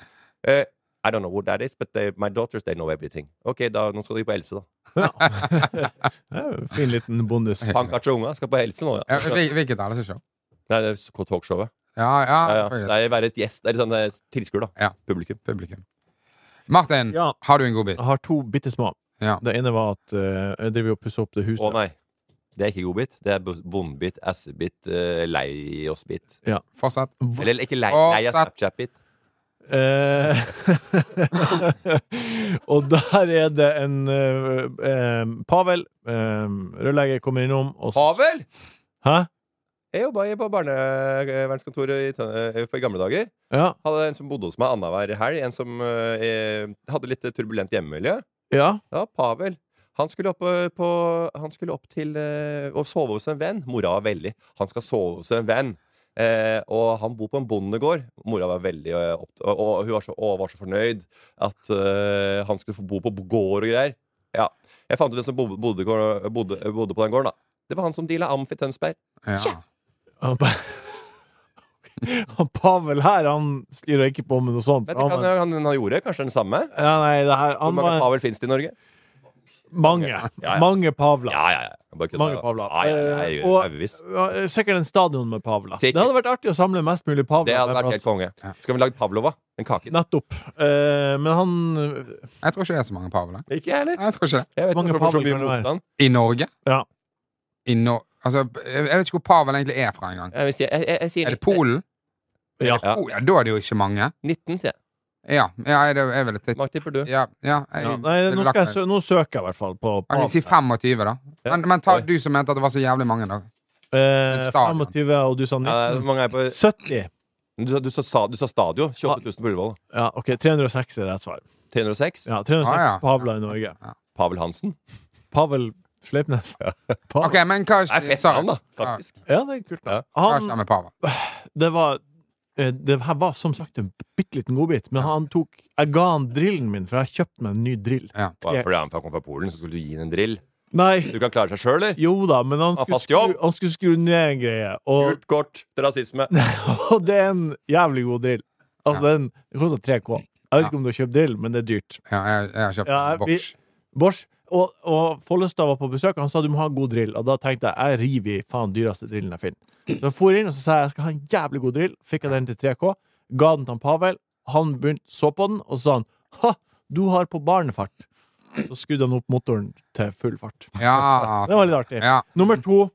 Eh, I don't know what that is, but they, my daughters, they know everything. Ok, da, nå skal de på Else, da. Det er jo en Fin liten bonus. Pankart og unga skal på Else nå, Ja, ja. hvil- Hvilket ellers show? Nei, det er talkshowet. Ja, ja, ja, ja. selvfølgelig. Det er være et gjest, eller sånn eh, tilskuer, da. Ah, Ja. Publikum. Publikum. Martin, Ja. har du en god bit? Jeg har to bitte små. Ja. Det ene var at eh, jeg driver og pusser opp det huset. Å nei. Det er ikke godbit. Det er bo- vondbit, assebit, eh, lei oss-bit. Fortsett. Eller eller ikke lei, Å, lei av satt. Snapchat-bit. Eh, og der er det en eh, eh, Pavel, eh, rørlegger, kommer innom. Og så- Pavel! Hæ? Jeg jobba i- på barnevernskontoret i, Tønne- eh, for i gamle dager. Ja. Hadde en som bodde hos meg annenhver helg. En som eh, eh, hadde litt turbulent hjemmemiljø. ja. Ja, Pavel. Han skulle opp, eh, på, han skulle opp til eh, å sove hos en venn. Mora var veldig Han skal sove hos en venn. Eh, og han bor på en bondegård. Mora var veldig eh, opp, og, og hun var så, og var så fornøyd at eh, han skulle få bo på gård og greier. Ja. Jeg fant ut hvem som bodde, bodde, bodde, bodde på den gården. da Det var han som deala amf i Tønsberg. Ja. Han, pa han Pavel her, han styrer ikke på med noe sånt. Vet du Han, hva han, han, han gjorde? Kanskje den samme? ja, nei, det her, Hvor han mange var Pavel fins det i Norge? mange. ja. Mange Pavler. Ja, ja, ja. Jeg bare kødder, Mange da. Pavler. Ja, ja, ja, jeg er Eh, og- overbevist. Ja, Sikkert en stadion med Pavla. Sikkert. Det hadde vært artig å samle mest mulig Pavla. Det på hadde en vært helt plass. konge. Skal vi lage Pavlova? En kake? Nettopp. Eh, men han Jeg tror ikke det er så mange Pavler. Ikke jeg heller. Jeg tror ikke det. Jeg vet Mange ikke hvorfor det får Pavel så mye kan det være. motstand. I Norge? Ja. I Nor altså, jeg jeg vet ikke hvor Pavel egentlig er fra engang. Jeg, vil si- jeg, jeg, jeg sier Er det Polen? Ja. Ja. Oh, ja, da er det jo ikke mange. 19, sier jeg. Ja, ja det er vel et Mark, tipper du? Ja, ja jeg, ja, Nei, nå, skal jeg, sø- nå søker jeg i hvert fall på Ok, Si Pavla. 25, da. Ja. Men, men ta Oi. du som mente at det var så jævlig mange, da. Eh, et stadion. 25, og du sa Ja, hvor 19. mange er på 70. Du, sa- du, sa, sta- du sa stadio. 28 000 på Ullevål. Ja, OK. 306 er rett svar. 306. Ja, 306 Ah, ja. Pavla i Norge. Pavel Hansen. Pavel Sleipnes. Pavel. Ok, men hva Det er fett sorry. navn, da. Faktisk. Ja, det er kult. da. Hva Han, skjer med Pavel? det var eh, Det her var som sagt en bitte liten godbit, men han tok Jeg ga han drillen min, for jeg har kjøpt meg en ny drill. Bare fordi han kom fra Polen, så skulle du gi ham en drill. Nei, Du kan klare seg sjøl, eller? jo da, men han Ha skulle fast jobb. skru, han skulle skru ned en greie, og, Gult kort til rasisme. og det er en jævlig god drill. Altså, den, den koster 3K. Jeg vet ikke om du har kjøpt drill, men det er dyrt. Ja, jeg, jeg har kjøpt Ja, en vi- boks. Bård og, og Follestad var på besøk, og han sa du må ha en god drill. Og da tenkte jeg jeg river i faen dyreste drillen jeg finner. Så jeg for inn og så sa jeg, jeg skal ha en jævlig god drill. Fikk jeg den til 3K. Ga den til han Pavel. Han begynte så på den, og så sa han ha, du har på barnefart. Så skrudde han opp motoren til full fart. Ja. Det var litt artig. ja. Nummer to.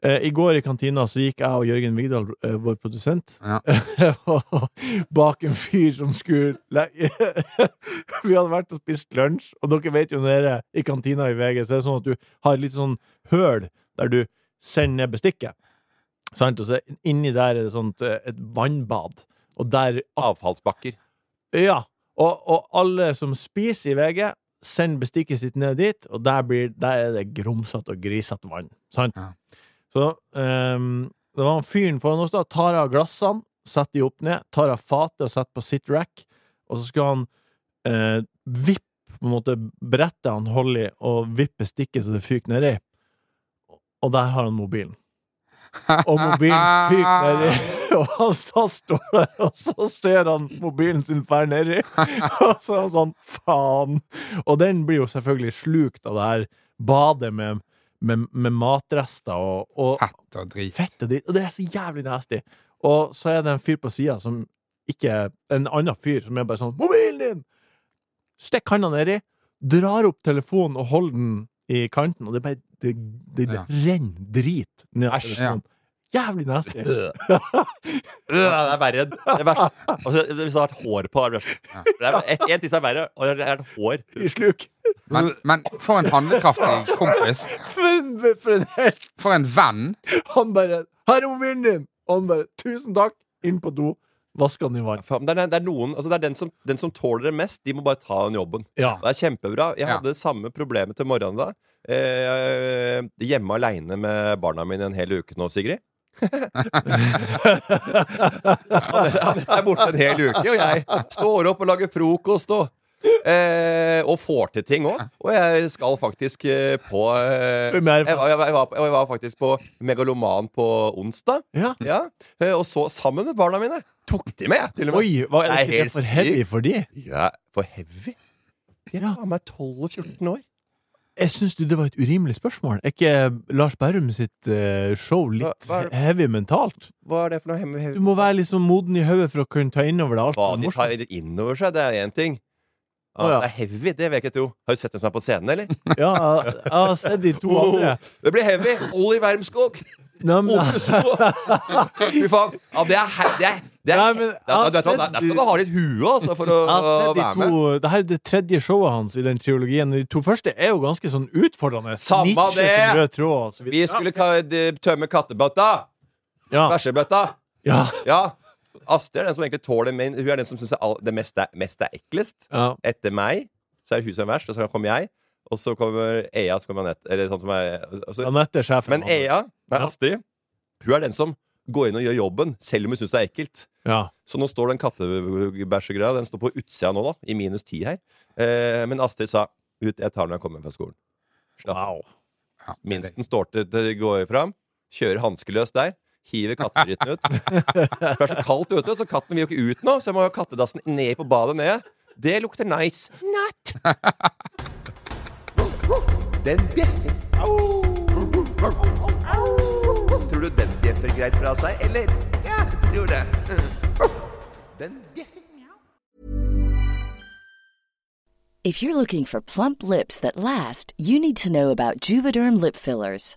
Eh, I går i kantina så gikk jeg og Jørgen Vigdal, eh, vår produsent, Ja. bak en fyr som skulle le- Vi hadde vært og spist lunsj, og dere vet jo nede i kantina i VG, så er det sånn at du har et litt sånn høl der du sender ned bestikket. Sant? Og så inni der er det sånt eh, et vannbad, og der Avfallsbakker. ja, og, og alle som spiser i VG, send bestikket sitt ned dit, og der, blir, der er det grumsete og grisete vann. Sant? Ja. Så ehm, det var han fyren foran oss, da. Tar av glassene, setter de opp ned, tar av fatet og setter på sitt rack, og så skal han eh, vippe på en måte brettet han holder i, og vippe stikket så det fyker nedi. Og der har han mobilen. Og mobilen fyker nedi. Og han så står der, og så ser han mobilen sin fære nedi. Og så er han sånn faen. Og den blir jo selvfølgelig slukt av det her badet med, med, med matrester og, og Fett og drit. fett og dritt. Og det er så jævlig nasty. Og så er det en fyr på sida som ikke En annen fyr som er bare sånn 'Mobilen din!' Stikk handa nedi, drar opp telefonen og holder den i kanten, og det bare Det, det, det Ja. renner drit ned av Æsj. telefonen. Jævlig nasty. Øh. Øh, det er verre. enn- Det er verre. Altså, hvis det hadde vært hår på det er- det er et, En ting som er verre, og det er et hår. I sluk. Men, men for en handlekraftig kompis. For en, for en helt For en venn. Han bare 'Her er mobilen din!' Og han bare 'Tusen takk!' Inn på do, vasker den i vann. Faen, Det er, det er, noen, altså det er den, som, den som tåler det mest, de må bare ta den jobben. Ja. Det er kjempebra. Jeg Ja. hadde samme problemet til morgenen da. Eh, hjemme aleine med barna mine en hel uke nå, Sigrid. Anette Anette er borte en hel uke, og jeg står opp og lager frokost og Eh, og får til ting òg. Og jeg skal faktisk eh, på eh, jeg, Primærfest. var- jeg, var- jeg, var, jeg var faktisk på Megaloman på onsdag. ja. Ja. Eh, og så, sammen med barna mine, tok de med, til og med. Oi, hva, er Det er det ikke det helt for heavy sykt. for de? Ja, for heavy? De er Ja. faen meg 12 og 14 år. Jeg syns du det var et urimelig spørsmål. Er ikke eh, Lars Berrum sitt eh, show litt Hva- hva er det- heavy mentalt? Hva er det for noe heavy? heavy? Du må være liksom moden i hodet for å kunne ta innover deg alt Hva som er de morsomt. tar inn over seg, det er én ting. Ja, Å, ja. Det er heavy, det vil jeg ikke tro. Har du sett hvem som er på scenen, eller? Ja, jeg, jeg har sett de Oh. to andre. Det blir heavy! Olli Wermskog! Nei, men, Ole Skog. Fy faen. Ja, det er he- det er- det er- Nei, men, det altså, er- vet du hva, Der der skal du ha litt hue, altså, for å jeg har å sett de være med. to Det her er det tredje showet hans i den triologien. De to første er jo ganske sånn utfordrende. Samme Nietzsche det. som rød tråd og så Vi videre. skulle ka de- tømme kattebøtta! Ja. Bæsjebøtta! Ja. Ja. Astrid er den som egentlig tåler men Hun er den som syns det mest er, mest er eklest. Ja. etter meg så er det hun som er verst, og så kommer jeg, og så kommer Ea, så kommer Anette Eller sånn som er altså, Anette er sjefen. Men Ea, nei, Ja. Astrid, hun er den som går inn og gjør jobben, selv om hun syns det er ekkelt. Ja. Så nå står den kattebæsjegreia Den står på utsida nå, da, i minus ti her. Eh, men Astrid sa ut, 'Jeg tar den når jeg kommer hjem fra skolen'. Wow. Minsten står til til det går fram, kjører hanskeløs der, hiver kattedritten ut. For det er så kaldt ute, så katten vil jo ikke ut nå, så jeg må ha kattedassen ned på badet nede. Det lukter nice. Natt! Den bjeffer. Tror du den bjeffer greit fra seg, eller? Ja, jeg tror det. Den bjeffer. If you're looking for plump lips that last, you need to know about Juvederm lip fillers.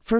For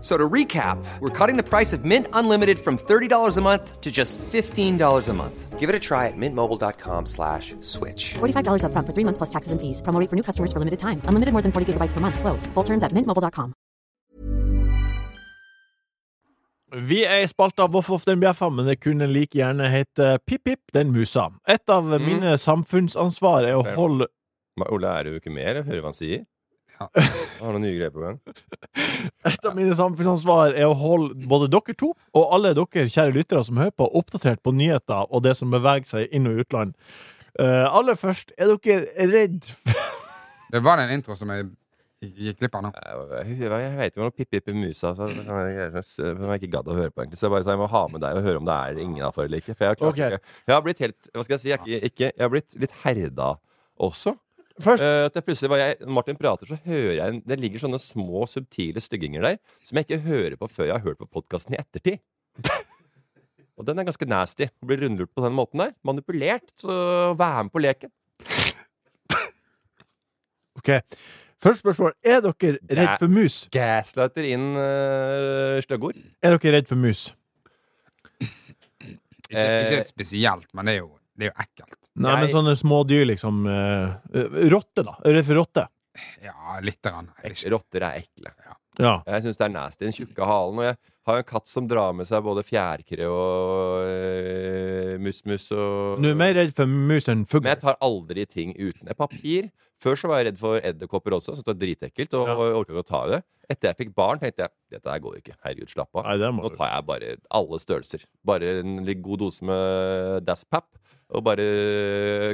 So to recap, we're cutting the price of Mint Unlimited from $30 a month to just $15 a month. Give it a try at mintmobile.com slash switch. $45 upfront for three months plus taxes and fees. Promo rate for new customers for limited time. Unlimited more than 40 gigabytes per month. Slows. Full terms at mintmobile.com. Vi er i spalta Voff Voff den bjeffa, men det kunne like gjerne hete Pip Pip den musa. Et av mine samfunnsansvar er å Mm. Fair. holde Ma- Ole, er du ikke med, eller? Hører du hva han sier? Ja. Har noen nye greier på gang? Et av mine samfunnsansvar er å holde både dere to og alle dere kjære lyttere som hører på, oppdatert på nyheter og det som beveger seg inn- og utland. Eh, aller først, er dere redd Det var en intro som jeg gikk glipp av nå. Jeg, jeg, jeg vet ikke om Pippi Musa så, så, så, så, som jeg ikke gadd å høre på, egentlig. Så jeg bare sa jeg må ha med deg og høre om det er ingen av eller ikke. For jeg har, klart Ok. ikke. jeg har blitt helt Hva skal jeg si? Jeg, er ikke, ikke, jeg har blitt litt herda også. Først- Eh, at jeg plutselig var jeg, når Martin prater, så hører jeg en, Det ligger sånne små, subtile stygginger der som jeg ikke hører på før jeg har hørt på podkasten i ettertid. og den er ganske nasty. Å bli rundlurt på den måten der. Manipulert. Så vær med på leken. Ok, Første spørsmål. Er dere redd for mus? Gaslighter inn uh, stygge ord. Er dere redd for mus? Ikke, Eh, ikke spesielt, men det er jo, det er jo ekkelt. Nei, men Jeg- sånne små dyr, liksom. eh, rotte, da. Er du redd for rotte? Ja, lite grann. Jeg vil ikke- Rotter er ekle. Ja. Jeg syns det er nasty. Den tjukke halen. Og jeg har jo en katt som drar med seg både fjærkre og øh, musmus og Du er mer redd for mus enn Men jeg fugl. tar aldri ting uten et papir. Før så var jeg redd for edderkopper også, syntes det var dritekkelt. Og, Ja. og orka ikke å ta i det. Etter jeg fikk barn, tenkte jeg dette her går jo ikke. Herregud, slapp av. Nei, det må Nå du. tar jeg bare alle størrelser. Bare en litt god dose med Daspap. Og bare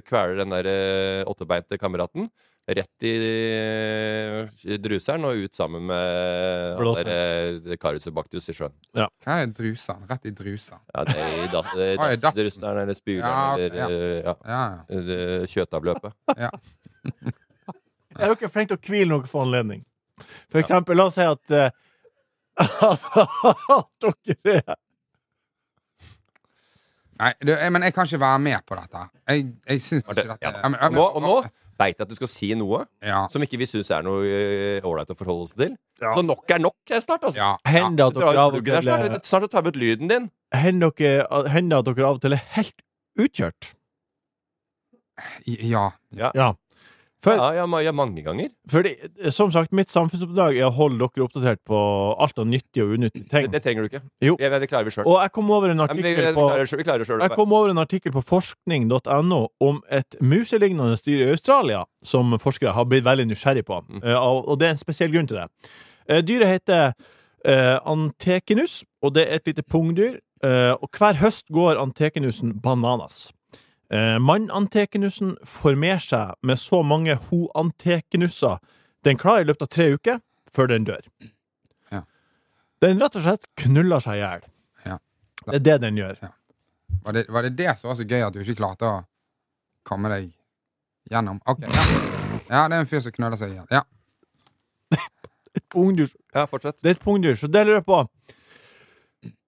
kveler den der eh, åttebeinte kameraten. Rett i eh, druseren og ut sammen med Blåsen. alle Carusubactus i sjøen. Hva er drusan? Rett i drusan. Ja, det er i da- eh, Oi, dass- dassen. druseren eller spyleren Ja, eller ja. eh, ja. Ja, ja. eller kjøttavløpet. ja. Er dere flinke til å hvile noe for anledning? For eksempel, la oss si at eh, at dere er Nei, du, jeg, men jeg kan ikke være med på dette. Jeg, jeg syns ikke Martin, dette ja da. Ja, men- ja, men- Nå, og nå veit jeg at du skal si noe Ja. som ikke vi syns er noe eh, ålreit å forholde oss til. Ja. Så nok er nok eh, snart, altså. Ja, ja. Hender at Dra dere ut av og pluggen her til snart. Snart så tar vi ut lyden din. Hender dere- hender at dere av og til er helt utkjørt? ja. Ja. For Ja, ja, ma- ja mange ganger. Fordi, som sagt, mitt samfunnsoppdrag er å holde dere oppdatert på alt av nyttige og unyttige Det, ting. det trenger du ikke. Jo. Jeg, det klarer vi sjøl. Og jeg kom over en Vi, vi artikkel på klarer det selv- vi klarer det jeg sjøl. kom over en artikkel på forskning.no om et muselignende dyr i Australia som forskere har blitt veldig nysgjerrig på. Mm. Eh, og og det er en spesiell grunn til det. Eh, dyret heter eh, antekinus, og det er et lite pungdyr. Eh, og hver høst går antekinusen bananas. Eh, Mann-antekunusen formerer seg med så mange ho-antekunuser den klarer i løpet av tre uker før den dør. Den rett og slett knuller seg i hjel. Det er det den gjør. Var det, var det det som var så gøy at du ikke klarte å komme deg gjennom? Ok, ja. ja, det er en fyr som knuller seg igjen. Ja. Et pungdyr. Det er et pungdyr. Så det lurer jeg på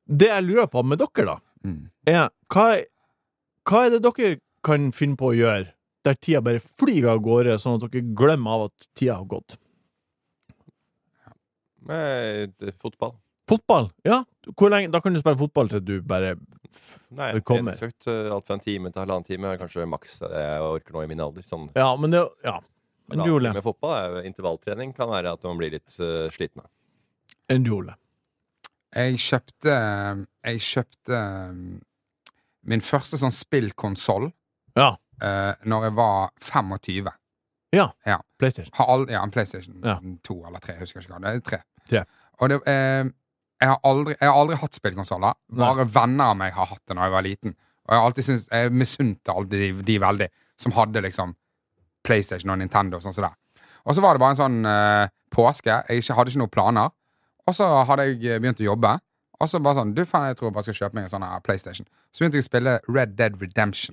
Det jeg lurer på med dere, da, er hva, hva er det dere kan finne på å gjøre der tida bare flyr av gårde, sånn at dere glemmer av at tida har gått? Nei, det er fotball. Fotball? Ja. Hvor lenge, da kan du spille fotball til du bare Nei, Det jeg kommer. har søkt eh, alt fra en time til halvannen time. er Kanskje maks eh, jeg orker nå i min alder. Sånn. Ja, men det Ja. En Halvannen duole. time fotball er jo- intervalltrening. Kan være at man blir litt eh, sliten. av. En duole. Jeg kjøpte eh, Jeg kjøpte eh, min første sånn spillkonsoll ja. Eh, når jeg var 25. Ja. PlayStation. Har all, ja, en PlayStation 2 eller 3. Jeg husker ikke hva det er. Tre. Og det, eh, jeg, har aldri, jeg har aldri hatt spillkonsoller. Bare venner av meg har hatt det da jeg var liten. Og jeg, har alltid syntes- jeg misunte alltid de, de veldig som hadde liksom PlayStation og Nintendo. og Sånn som det. Og så var det bare en sånn eh, påske. Jeg ikke, hadde ikke noen planer. Og så hadde jeg eh, begynt å jobbe. Og så bare sånn Du, faen, jeg tror jeg bare skal kjøpe meg en sånn her PlayStation. Så begynte jeg å spille Red Dead Redemption.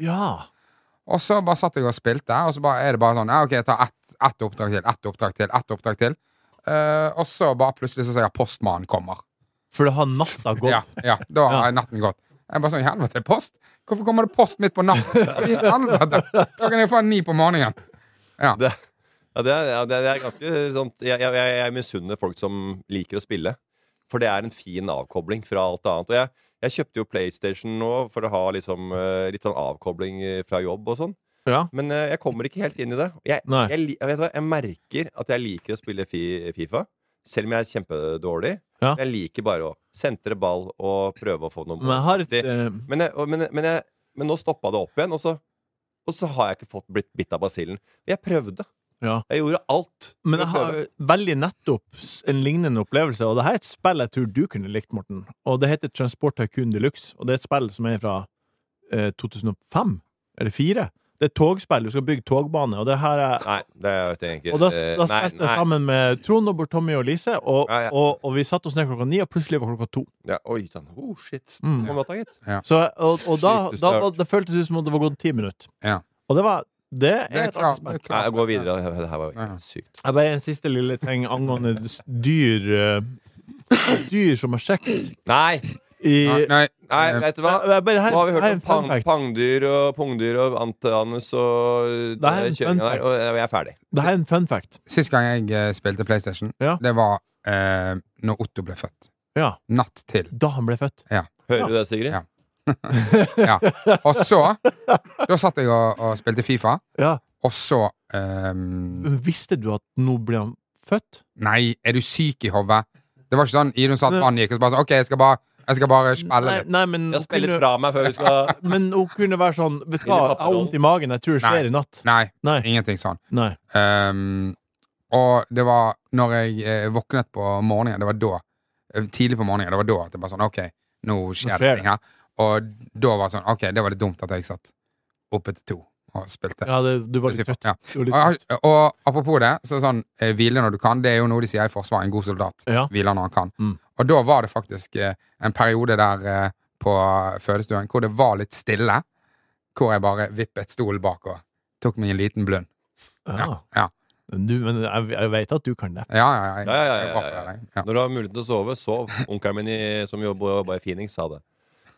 Og så bare satt jeg og spilte, og så bare, er det bare sånn ja, OK, jeg tar ett, ett oppdrag til, ett oppdrag til, ett oppdrag til. Eh, og så bare plutselig så ser jeg at postmannen kommer. For da har natta gått? ja, ja, da har natten gått. Jeg bare sånn Helvete, post? Hvorfor kommer det post midt på natten? I helvete! Klokken er faen ni på morgenen. Ja. Det, ja, det, er, ja, det, er, det er ganske sånt Jeg, jeg, jeg, jeg misunner folk som liker å spille. For det er en fin avkobling fra alt annet. Og jeg, jeg kjøpte jo PlayStation nå for å ha liksom, eh, litt sånn avkobling eh, fra jobb og sånn. Ja. Men eh, jeg kommer ikke helt inn i det. Jeg, Nei. jeg, li- jeg, vet du hva, jeg merker at jeg liker å spille fi, Fifa. Selv om jeg er kjempedårlig. Ja. Jeg liker bare å sentre ball og prøve å få noen Men jeg har et eh, men, jeg, og- men, men, jeg, men nå stoppa det opp igjen, og så, og så har jeg ikke fått blitt bitt av basillen. Jeg prøvde. Ja. Jeg gjorde alt. for Men å jeg har prøve. veldig nettopp s- en lignende opplevelse, og det her er et spill jeg tror du kunne likt, Morten. Og det heter Transport Tycoon Deluxe, og det er et spill som er fra eh, 2005, eller 2004. Det er et togspill, du skal bygge togbane, og det her er Nei, det vet jeg ikke. og da, Eh, da nei, spilte nei. jeg sammen med Trond, og Bård Tommy og Lise, og, og, og vi satte oss ned klokka ni, og plutselig var klokka to. Ja, oi sann. Oh, shit. Mm. Om natta, gitt. Så, og og da, da Sykt snart. var, det føltes ut som om det var gått ti minutter. Ja. Og det var Det er, et artig spill. Nei, jeg går videre. Det her var helt sykt. Jeg bare en siste lille ting angående s- dyr eh, Dyr som har sjekket Nei! I, Nei, eh, Nei, vet du hva? Jeg- jeg bare- her- Nå har vi her er hørt en om fun pang, fact. pangdyr og pungdyr og antanus og eh, Det er en fun kjøringa fact. der, og jeg er ferdig. Det her er en fun fact. Sist gang jeg eh, spilte PlayStation, det var eh, når Otto ble født. Ja. Natt til. Da han ble født. Ja. Hører du det, Sigrid? Ja. ja. Og så Da satt jeg og, og spilte Fifa, og så ehm, Visste du at nå ble han født? Nei, er du syk i hodet? Det var ikke sånn Idun satt vann gikk, og så bare sånn OK, jeg skal bare, jeg skal bare spille Nei, litt. nei, men Jeg hun spiller kunne- fra meg før vi skal- Men hun kunne være sånn Vet du hva, Lille jeg har vondt i magen, jeg tror det skjer i natt. Nei, Nei. ingenting sånn. Nei. Ehm, og det var når jeg eh, våknet på morgenen, det var da, eh, tidlig på morgenen, det var da at det bare sånn, ok, nå skjer det skjer ting her. Og da var det sånn, ok, det var litt dumt at jeg satt oppe til to og spilte. Ja, det, du var litt trøtt. Ja. Du var Ah, litt Og, og apropos det, så sånn, eh, hvile når du kan, det er jo noe de sier i Forsvaret, en god soldat hviler når han kan. Mm. Og da var det faktisk eh, en periode der eh, på fødestuen hvor det var litt stille, hvor jeg bare vippet stolen bak og tok meg en liten blund. Ja. Ja. Du, men jeg, jeg vet at du kan det. Ja, ja, ja. Ja, ja, ja, ja, ja. Når du har muligheten til å sove, sov. Onkelen min i, som jobba jobba i Phoenix, sa det.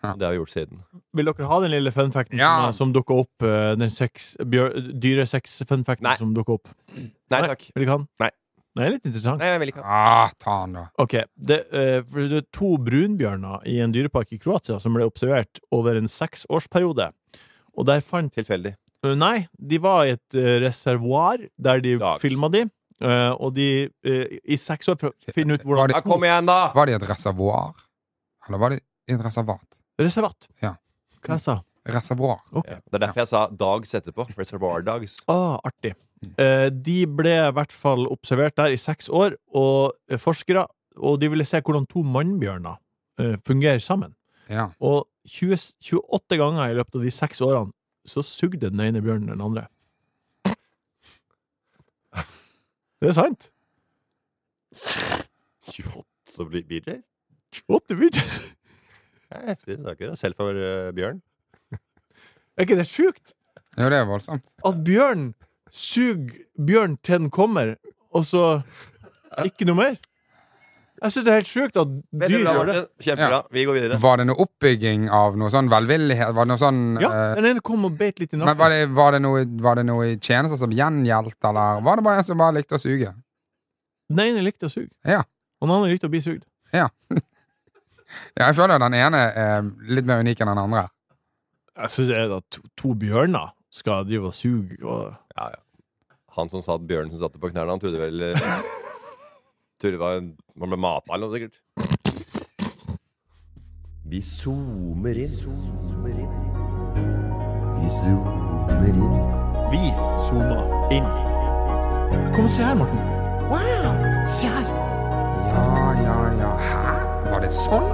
Og det har vi gjort siden. Vil dere ha den lille funfacten som, som dukka opp? eh, Den sex, bjør, dyre sex-funfacten som dukka opp? Nei takk. Vil dere ha den? Nei. Det er litt interessant. Nei, jeg vil ikke ha Ah, ta han da. Ok, det, eh, for det er to brunbjørner i en dyrepark i Kroatia som ble observert over en seksårsperiode. Og der fant eh, Tilfeldig. Nei, de var i et eh, reservoar der de filma de. eh, og de eh, i seks år prøv- finne ut hvordan Ja, kom igjen, da! Var det i et reservoar? Eller var det i et reservat? Reservat. Ja. Hva jeg sa Reservoar. Ja. Det er derfor jeg sa Dogs etterpå. Reservoir Dogs. Ah, artig. Eh, de ble i hvert fall observert der i seks år, og eh, forskere, og de ville se hvordan to mannbjørner eh, fungerer sammen. Ja. Og 20, 28 ganger i løpet av de seks årene så sugde den ene bjørnen den andre. Det er sant. 28 blir BJ? 28 BJs? Det er heftige saker. da. Selv for eh, bjørn. Er ikke det sjukt? Jo, det er voldsomt. At bjørn suger bjørn til den kommer, og så ikke noe mer? Jeg syns det er helt sjukt at dyr Bra, gjør det. Martin. Kjempebra. Vi går videre. Var det noe oppbygging av noe sånn velvillighet? Var det noe sånn Ja, eh, den ene kom og beit litt i men var nakken. det, var, det noe, var det noe i tjenester som gjengjeldt, eller var det bare en som bare likte å suge? Den ene likte å suge, Ja. og den andre likte å bli sugd. ja. ja jeg føler den ene er litt mer unik enn den andre. Jeg syns det er at to, to bjørner skal drive og suge og Ja, ja. Han som satt bjørnen som satte på knærne, han trodde vel eh, Trodde det var en- man ble mata eller noe, sikkert. Vi zoomer inn. Vi zoomer inn. Vi zooma inn. Kom og se her, Morten. Wow! Se her. Ja, ja, ja. Hæ? Var det sånn?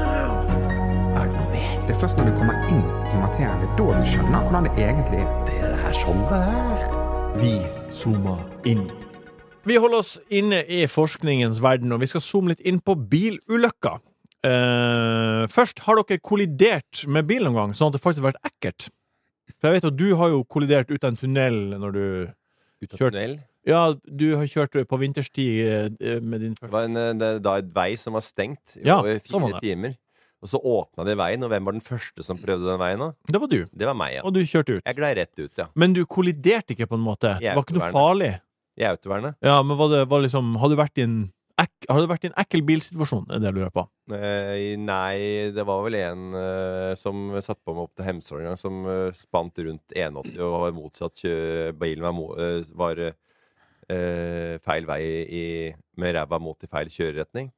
Er det noe mer? Det er først når du kommer inn i materien, det er da du skjønner hvordan det egentlig er. Det er sånn det er. Vi zooma inn. Vi holder oss inne i forskningens verden, og vi skal zoome litt inn på bilulykker. Eh, først, har dere kollidert med bil noen gang, sånn at det faktisk har vært ekkelt? For jeg vet at du har jo kollidert ut av en tunnel når du Ut av Kjørt. tunnel. Ja, du har kjørt på vinterstid eh, med din Det første var en, eh, det- da en vei som var stengt i Ja, over sånn var fire timer. Og så åpna de veien, og hvem var den første som prøvde den veien? da? Det var du, Det var meg, ja. og du kjørte ut. Jeg glei rett ut, ja. Men du kolliderte ikke, på en måte. Det Jeg er var ikke noe autovernet. farlig. I autovernet. Ja, men var det, var liksom, har, du vært i en ek, har du vært i en ekkel bilsituasjon? Er det jeg lurer på. Eh, nei, det var vel en eh, som satte på meg opp til Hemsedal en gang, som eh, spant rundt 180 og var motsatt kjø Bilen var, mo eh, var eh, feil vei i, med ræva mot i feil kjøreretning.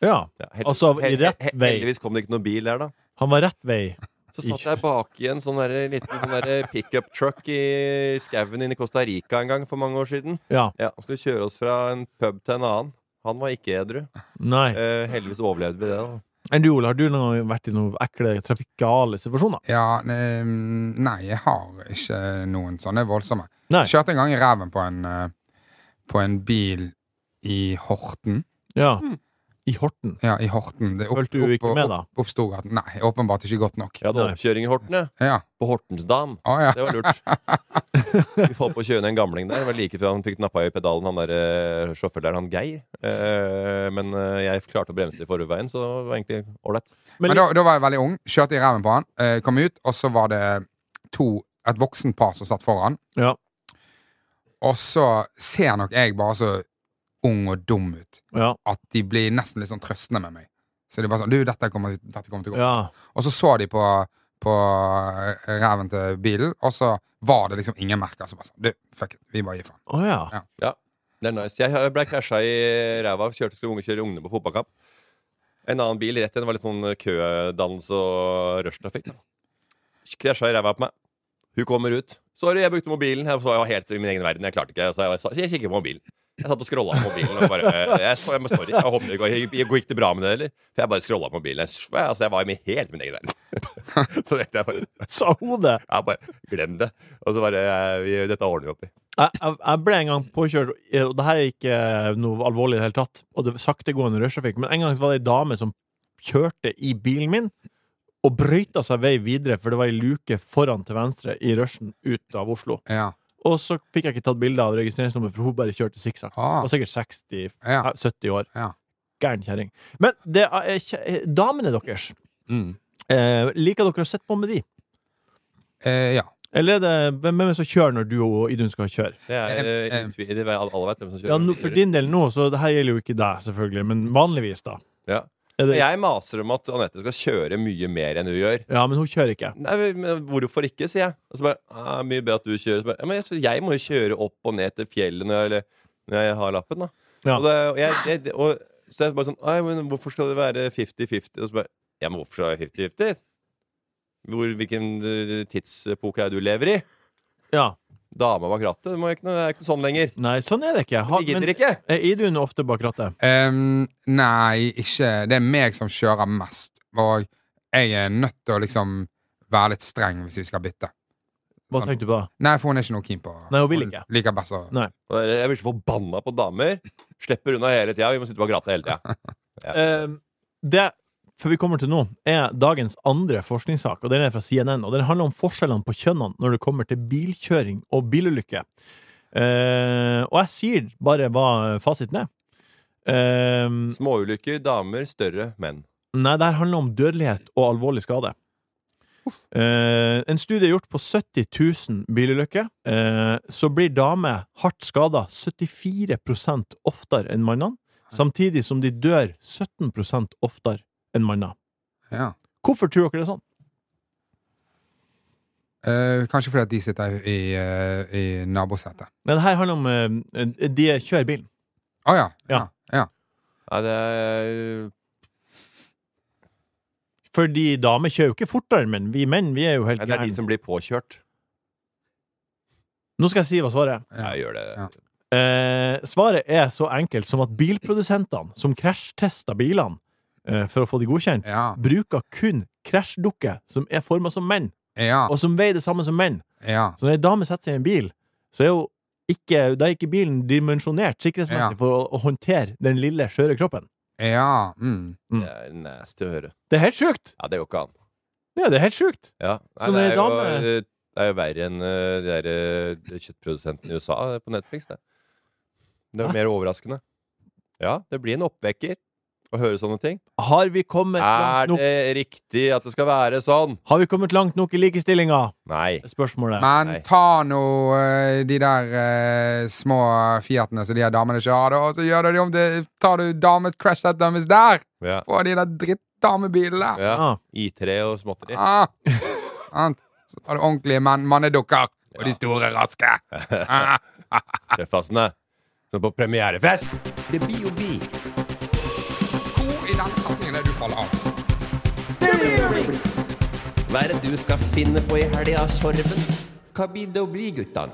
Ja, Ja, hel- Altså, i hel- rett he- vei. Heldigvis kom det ikke noen bil der, da. Han var rett vei. Så I satt jeg bak i en sånn der, liten sånn der pickup truck i skauen inne i Costa Rica en gang for mange år siden. Ja, Ja, Han skulle kjøre oss fra en pub til en annen. Han var ikke edru. nei. Eh, heldigvis overlevde vi det, da. Enn du, Ole, har du noen gang vært i noen ekle trafikale situasjoner? Ja, eh, nei, jeg har ikke noen sånne voldsomme. Nei. Kjørte en gang i ræven på en eh, På en bil i Horten. Ja. I Horten. Ja, i Horten. Det er opp, Følte du opp- ikke med, da? Opp, opp Storgaten. Nei, åpenbart ikke godt nok. Jeg hadde Nei. oppkjøring i Horten, jeg. Ja. På Hortensdam. Å, Ah, ja. Det var lurt. Vi får på å kjøre ned en gamling der. Det var like før han fikk nappa i pedalen, han der eh, sjåføren der, han Geir. Eh, men eh, jeg klarte å bremse i forveien, så det var egentlig ålreit. Men, Men da, da var jeg veldig ung. Kjørte i ræven på han. eh, kom ut, og så var det to et voksent par som satt foran. Ja. Og så ser nok jeg bare så ung og dum ut Ja. at de blir nesten litt sånn trøstende med meg. Så de bare sånn Du, dette kommer, dette kommer til å gå. ja. Og så så de på, på eh, ræven til bilen, og så var det liksom ingen merker. Så bare sånn Du, fuck it. Vi bare gir faen. Å ja. Det er nice. Jeg ble krasja i ræva. Kjørte skulle unge kjøre ungene på fotballkamp. En annen bil rett igjen. Det var litt sånn kødannelse og rushtrafikk. da. Krasja i ræva på meg. Hun kommer ut. 'Sorry, jeg brukte mobilen.' Jeg var helt i min egen verden. Jeg klarte ikke. Så jeg, sa- jeg kikket på mobilen. Jeg satt og scrolla på mobilen. Og bare, eh, jeg, så- jeg, må- sorry, jeg håper det går jeg- Gikk det bra med det, eller? For jeg bare scrolla på mobilen. Jeg, s- altså, jeg var i min, helt i min egen verden. Så tenkte jeg bare, Sa hodet! jeg bare Glem det. Og så bare eh, vi, Dette ordner vi opp i. Jeg, jeg, jeg ble en gang påkjørt, eh, og det her er ikke eh, noe alvorlig i det hele tatt, og det var saktegående rushtrafikk, men en gang så var det ei dame som kjørte i bilen min og brøyta seg vei videre, for det var ei luke foran til venstre i rushen ut av Oslo. Ja. Og så fikk jeg ikke tatt bilde av registreringsnummer, for hun bare kjørte sikksakk. Ah. Var sikkert 60 Ja. 70 år. Ja. Gæren kjerring. Men det er, kje- damene deres, Mm. eh, liker dere å sitte på med de? Eh, ja. Eller er det hvem er det som kjører når du og Idun skal kjøre? Det er, eh, Em, em. utvi- det, er- alle vet hvem som kjører. Ja, nå- for din del nå, så det her gjelder jo ikke deg, selvfølgelig, men vanligvis, da. Ja. Er det, Jeg maser om at Anette skal kjøre mye mer enn hun gjør. ja, men hun kjører ikke. Nei, men Hvorfor ikke, sier jeg. Og så bare, ah, Mye bedre at du kjører. Så bare, ja, men jeg, så jeg må jo kjøre opp og ned til fjellet når jeg, eller, når jeg har lappen. da Ja. og det, og jeg, det- det, og, Så jeg bare sånn Nei, men hvorfor skal det være 50-50? Og så bare Ja, men hvorfor skal det være 50-50? Hvor, hvilken eh, tidsepoke er det du lever i? Ja. Dama bak rattet? Det må ikke noe- det er ikke sånn lenger. Nei, sånn er det ikke. Ha, Vi gidder men ikke. er Idun ofte bak rattet? Ehm, nei, ikke Det er meg som kjører mest. Og jeg er nødt til å liksom være litt streng hvis vi skal bytte. Hva tenkte du på da? Nei, for hun er ikke noe keen på Nei, hun vil ikke. Liker best å Og Jeg jeg blir så forbanna på damer. Slipper unna hele tida. Vi må sitte og gråte hele tida. Eh, det for vi kommer til nå, er dagens andre forskningssak, og den er fra CNN. og Den handler om forskjellene på kjønnene når det kommer til bilkjøring og bilulykker. Eh, og jeg sier bare hva fasiten er. Eh, Småulykker, damer, større menn. nei, det her handler om dødelighet og alvorlig skade. Eh, en studie gjort på 70 000 bilulykker, eh, så blir damer hardt skada 74 oftere enn mannene, samtidig som de dør 17 oftere enn mannene. Ja. Hvorfor tror dere det er sånn? Eh, kanskje fordi at de sitter i, eh, i nabosetet. Nei, det her handler om eh, De kjører bilen. Å ja. Ja. Nei, det er Fordi damer kjører jo ikke fortere, men vi menn vi er jo helt Nei, det er de gærne. som blir påkjørt. Nå skal jeg si hva svaret er. Jeg gjør det. Eh, svaret er så enkelt som at bilprodusentene som krasjtester bilene eh, for å få de godkjent, Ja. bruker kun krasjdukker som er forma som menn, Ja. og som veier det samme som menn. Ja. Så når ei dame setter seg i en bil, så er jo ikke, da er ikke bilen dimensjonert sikkerhetsmessig Ja. for å, å håndtere den lille, skjøre kroppen. Ja. Mm. Det er nasty å høre. Det er helt sjukt! Ja, det går ikke an. Ja, det er helt sjukt! Ja. Nei, Så det, når er jo, damer- eh, det er jo verre enn eh, de der eh, kjøttprodusentene i USA eh, på Netflix. Det, det er Hæ? mer overraskende. Ja, det blir en oppvekker å høre sånne ting. Har vi kommet Er langt nok, det riktig at det skal være sånn? har vi kommet langt nok i likestillinga? Nei. Spørsmålet. Men Nei. ta nå eh, de der eh, små Fiatene som de her damene kjører, da, og så gjør du de om til Tar du dame crash that dummies der! Ja. På de der drittdamebilene! ja. Ah. I3 og småtteri. Ah. Sant? Så tar du ordentlige mann mannedukker, og de store, raske. Ah. Tøffasene. Som på premierefest! Det blir jo bi. Hvor i den setningen er det du faller av? Hva er det du skal finne på i helga, Sorven? Hva blir det å bli, guttan?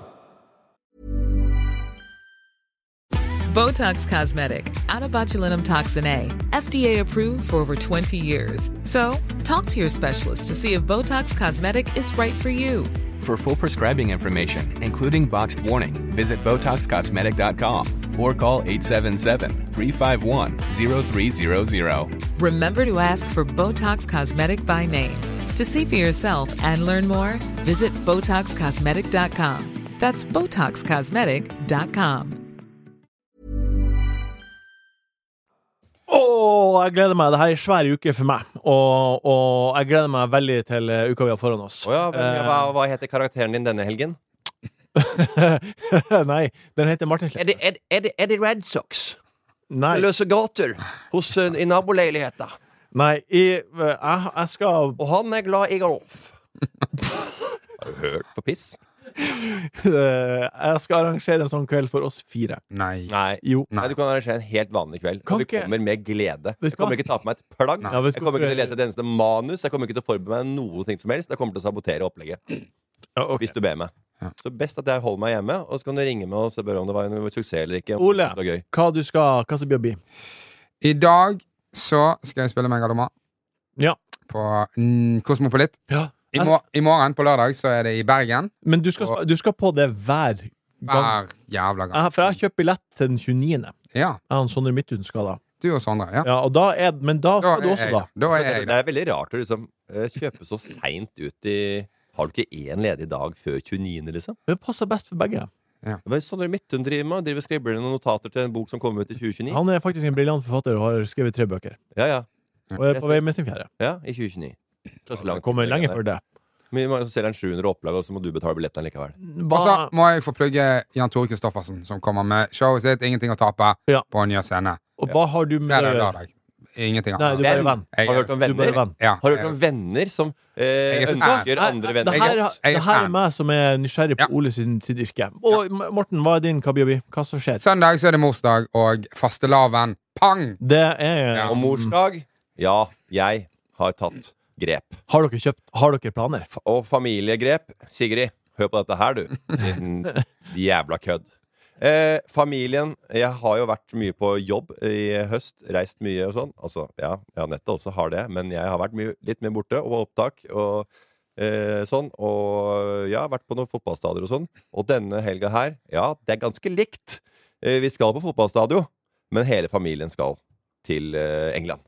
Botox Cosmetic, out of botulinum toxin A, FDA approved for over 20 years. So, talk to your specialist to see if Botox Cosmetic is right for you. For full prescribing information, including boxed warning, visit BotoxCosmetic.com or call 877-351-0300. Remember to ask for Botox Cosmetic by name. To see for yourself and learn more, visit BotoxCosmetic.com. That's BotoxCosmetic.com. Åh, jeg gleder meg. Dette er en svær uke for meg. Og, og jeg gleder meg veldig til eh, uka vi har foran oss. Å ja, vel, ja, hva, hva heter karakteren din denne helgen? Eh, Nei, den heter Martin Slepp. Er det, er, er det, er det Red Sox? Nei. Løse gater hos, eh, i naboleiligheter. Nei i, eh, jeg, jeg skal Og han er glad i golf. Har du hørt på piss? eh, Jeg skal arrangere en sånn kveld for oss fire. Nei. Nei. Jo. Nei, Du kan arrangere en helt vanlig kveld. Kan og du ikke- kommer med glede. Vet Jeg du kommer hva? ikke til å ta på meg et plagg. Ja, vet du jeg kommer ikke til å hvorfor- lese et eneste manus. Jeg kommer ikke til å forberede meg noe ting som helst. Jeg kommer til å sabotere opplegget. Ja, ok. Hvis du ber meg. Så best at jeg holder meg hjemme, og så kan du ringe meg og spørre om det var en suksess eller ikke. om Ole, det var gøy. hva du skal Hva som blir å bli? I dag så skal jeg spille Megaloma Ja. på mm, Kosmopolit. ja. I, mor I morgen, på lørdag, så er det i Bergen. Men du skal, spa- du skal på det hver gang. Hver jævla gang. Jeg, for jeg kjøper billett til den 29. Ja. Jeg og Sondre Midthun skal da. Du og Sondre. Ja. Ja, og da er, men da Da skal du er også, jeg da. der. Da er Det, jeg det der. er veldig rart å liksom eh, kjøpe så seint ut i Har du ikke én ledig dag før 29., liksom? Det passer best for begge. Hva er det Sondre Midthun driver med? Driver og skribler noen notater til en bok som kommer ut i 2029? Han er faktisk en briljant forfatter og har skrevet tre bøker. Ja, ja. Og er på vei med sin fjerde. ja i 2029. Så så langt- Kommer lenge før det. Men man selger en 700 opplag, og så må du betale billetten likevel. Og så Hva, må jeg få plugge Jan Tore Kristoffersen, som kommer med showet sitt 'Ingenting å tape' Ja. på en ny scene. og hva har du med Fredag og lørdag. Ingenting å Nei, du er bare venn. Jeg- Har du hørt om Du er venner? bare venn. Ja, Har du jeg- hørt om venner som eh, Jeg er fan. ønsker Nei, andre Det venner? her, Jeg er det her er fan. meg som er nysgjerrig på Ja. Ole sin, sitt yrke. Og M- Morten, hva er din kabiobi? Hva som skjer? Søndag så er det morsdag og fastelavn. Pang! Det er Ja, Og morsdag? Ja, jeg har tatt grep. Har dere kjøpt Har dere planer? F- Og familiegrep. Sigrid, hør på dette her, du. Din jævla kødd. Eh, familien Jeg har jo vært mye på jobb i høst. Reist mye og sånn. Altså, ja, ja nettet også har det, men jeg har vært mye, litt mer borte og var opptak. Og Eh, sånn, og ja, vært på noen fotballstadier og sånn. Og denne helga her, ja, det er ganske likt. Eh, vi skal på fotballstadion, men hele familien skal til eh, England.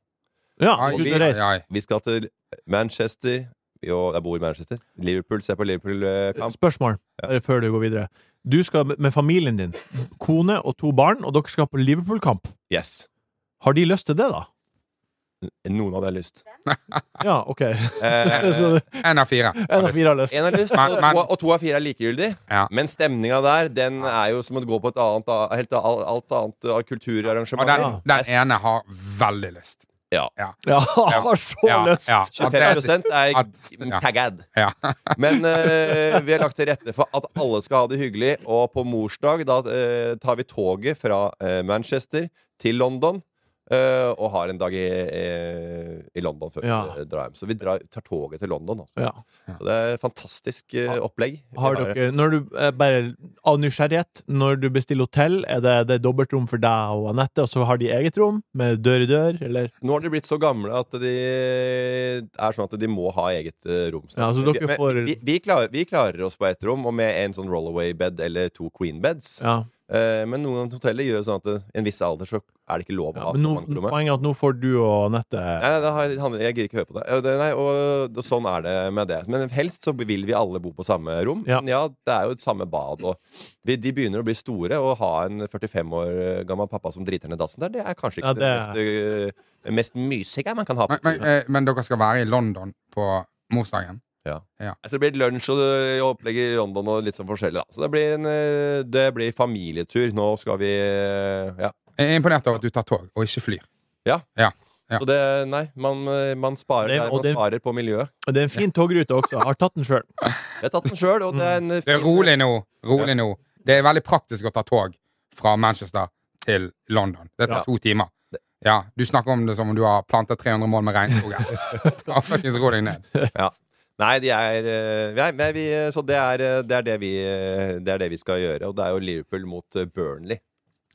Ja, og ut vi, og reise. vi skal til Manchester. Jo, jeg bor i Manchester. Liverpool, se på Liverpool-kamp. Spørsmål bare før du går videre. Du skal med familien din, kone og to barn, og dere skal på Liverpool-kamp. Yes. Har de lyst til det, da? Noen hadde jeg lyst. Ja, OK. Eh, Så- En av fire. En av fire har lyst. En har lyst, Men- og, men- to, og to av fire er likegyldig. Men stemninga der, den er jo som å gå på et annet, helt, a- alt annet av Og kulturarrangement. den, den ene har veldig lyst. Ja. Ja, han har så Ja, lyst! ja. 25 er ja. taggad. Ja. Men eh, vi har lagt til rette for at alle skal ha det hyggelig, og på morsdag da eh, tar vi toget fra eh, Manchester til London. eh, og har en dag i, eh, i London før Ja. vi drar hjem. Så vi drar, tar toget til London. Altså. Ja. Så det er et fantastisk eh, opplegg. vi Har dere, når du, eh, bare av nysgjerrighet, når du bestiller hotell, er det, det er dobbeltrom for deg og Anette, og så har de eget rom med dør i dør, eller? Nå har de blitt så gamle at de er sånn at de må ha eget eh, rom. Ja, så dere Men får- vi, vi, klarer, vi klarer oss på ett rom, og med en sånn rollaway-bed eller to queen-beds. Ja. Eh, men noen hoteller gjør sånn at eh, i en viss alder så er det ikke lov å ha Men så nå, mange på rommet. poenget er at nå får du og Anette Nei, det har- det handler, jeg gidder ikke høre på det. Eh, det nei, og, og sånn er det med det. Men helst så vil vi alle bo på samme rom. Men ja, det er jo et samme bad. Og vi, de begynner å bli store, og ha en 45 år gammel pappa som driter ned dassen der, det er kanskje ikke Ja, det, mest, eh, mest mysige man kan ha på Men, men, eh, men dere skal være i London på morsdagen? Ja. Ja. Altså, det blir lunsj og ø, opplegg i London og litt sånn forskjellig. Da. Så det blir, en, ø, det blir familietur. Nå skal vi ø, ja. Jeg er imponert over at du tar tog og ikke flyr. ja. Ja. Ja. Så det Nei, man, ø, man, sparer, Det- der, og man det- sparer på miljøet. Og det er en fin togrute også. Har tatt den sjøl. Jeg har tatt den sjøl, og det er en ø, Mm. Det er fin- rolig nå. Rolig nå. Det er veldig praktisk å ta tog fra Manchester til London. Det tar Ja. to timer. Ja, Du snakker om det som om du har plantet 300 mål med regnskog. her. Ta fuckings ro deg ned. ja. Nei, de er, ø, vi er, vi er vi, eh, Så det er, ø, det, er det, vi, ø, det er det vi skal gjøre. Og det er jo Liverpool mot ø, Burnley.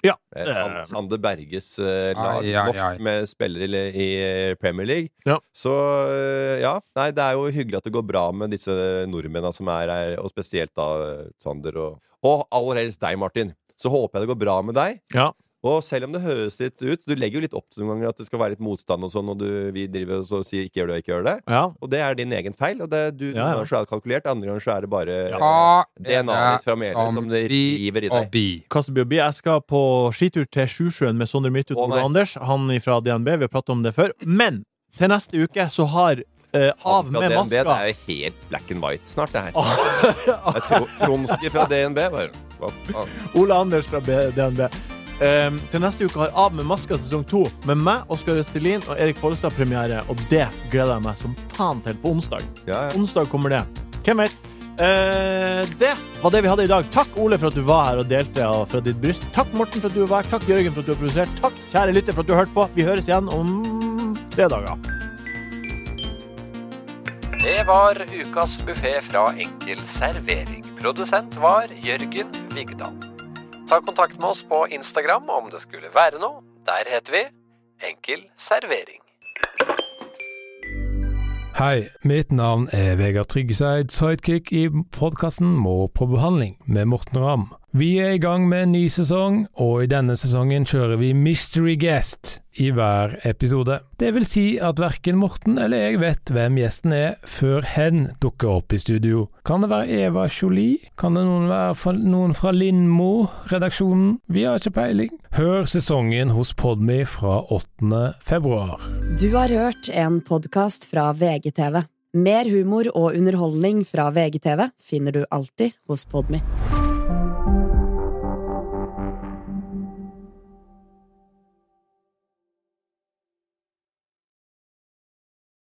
Ja. Eh, Sand- Sander Berges eh, lag, Ai, ai, norsk ai. med spillere i, i Premier League. Ja. Så eh, ja, nei, det er jo hyggelig at det går bra med disse nordmennene som er her, og spesielt da eh, Sander og Og aller helst deg, Martin. Så håper jeg det går bra med deg. Ja. Og selv om det høres litt ut Du legger jo litt opp til noen ganger at det skal være litt motstand og sånn, og du, vi driver og så sier 'ikke gjør det', og 'ikke gjør det'. Ja. Og det er din egen feil. Og det, du, Ja, ja. Noen ganger så er det kalkulert, andre ganger så er det bare Ta DNA-et ditt fra det melet som som, det river i deg. Kasteby og Bi. Jeg skal på skitur til Sjusjøen med Sondre Midthut og Ole Anders. Han fra DNB. Vi har pratet om det før. Men til neste uke så har eh, Av fra med DNB, det maska er jo helt black and white snart, det her. Det er tro, Tronski fra DNB, bare. Hva faen? Ole Anders fra B- DNB. Ehm, til neste uke har Av med maska sesong to med meg, Oskar Østelin og Erik Follestad premiere. Og det gleder jeg meg som faen til på onsdag. Onsdag kommer det. Hvem vet? Eh, det var det vi hadde i dag. Takk, Ole, for at du var her og delte av- fra ditt bryst. Takk, Morten, for at du var her. Takk, Jørgen, for at du har produsert. Takk, kjære lytter, for at du har hørt på. Vi høres igjen om tre dager. Det var ukas buffé fra Enkel servering. Produsent var Jørgen Vigdal. Ta kontakt med oss på Instagram om det skulle være noe. Der heter vi Enkel servering. Hei, mitt navn er Vegard Tryggeseid, sidekick i podkasten Må på behandling med Morten Ramm. Vi er i gang med en ny sesong, og i denne sesongen kjører vi mystery guest i hver episode. Det vil si at verken Morten eller jeg vet hvem gjesten er før hen dukker opp i studio. Kan det være Eva Jolie? Kan det noen være fra, noen fra Lindmo-redaksjonen? Vi har ikke peiling. Hør sesongen hos Podme fra 8. februar. Du har hørt en podkast fra VGTV. Mer humor og underholdning fra VGTV finner du alltid hos Podmy.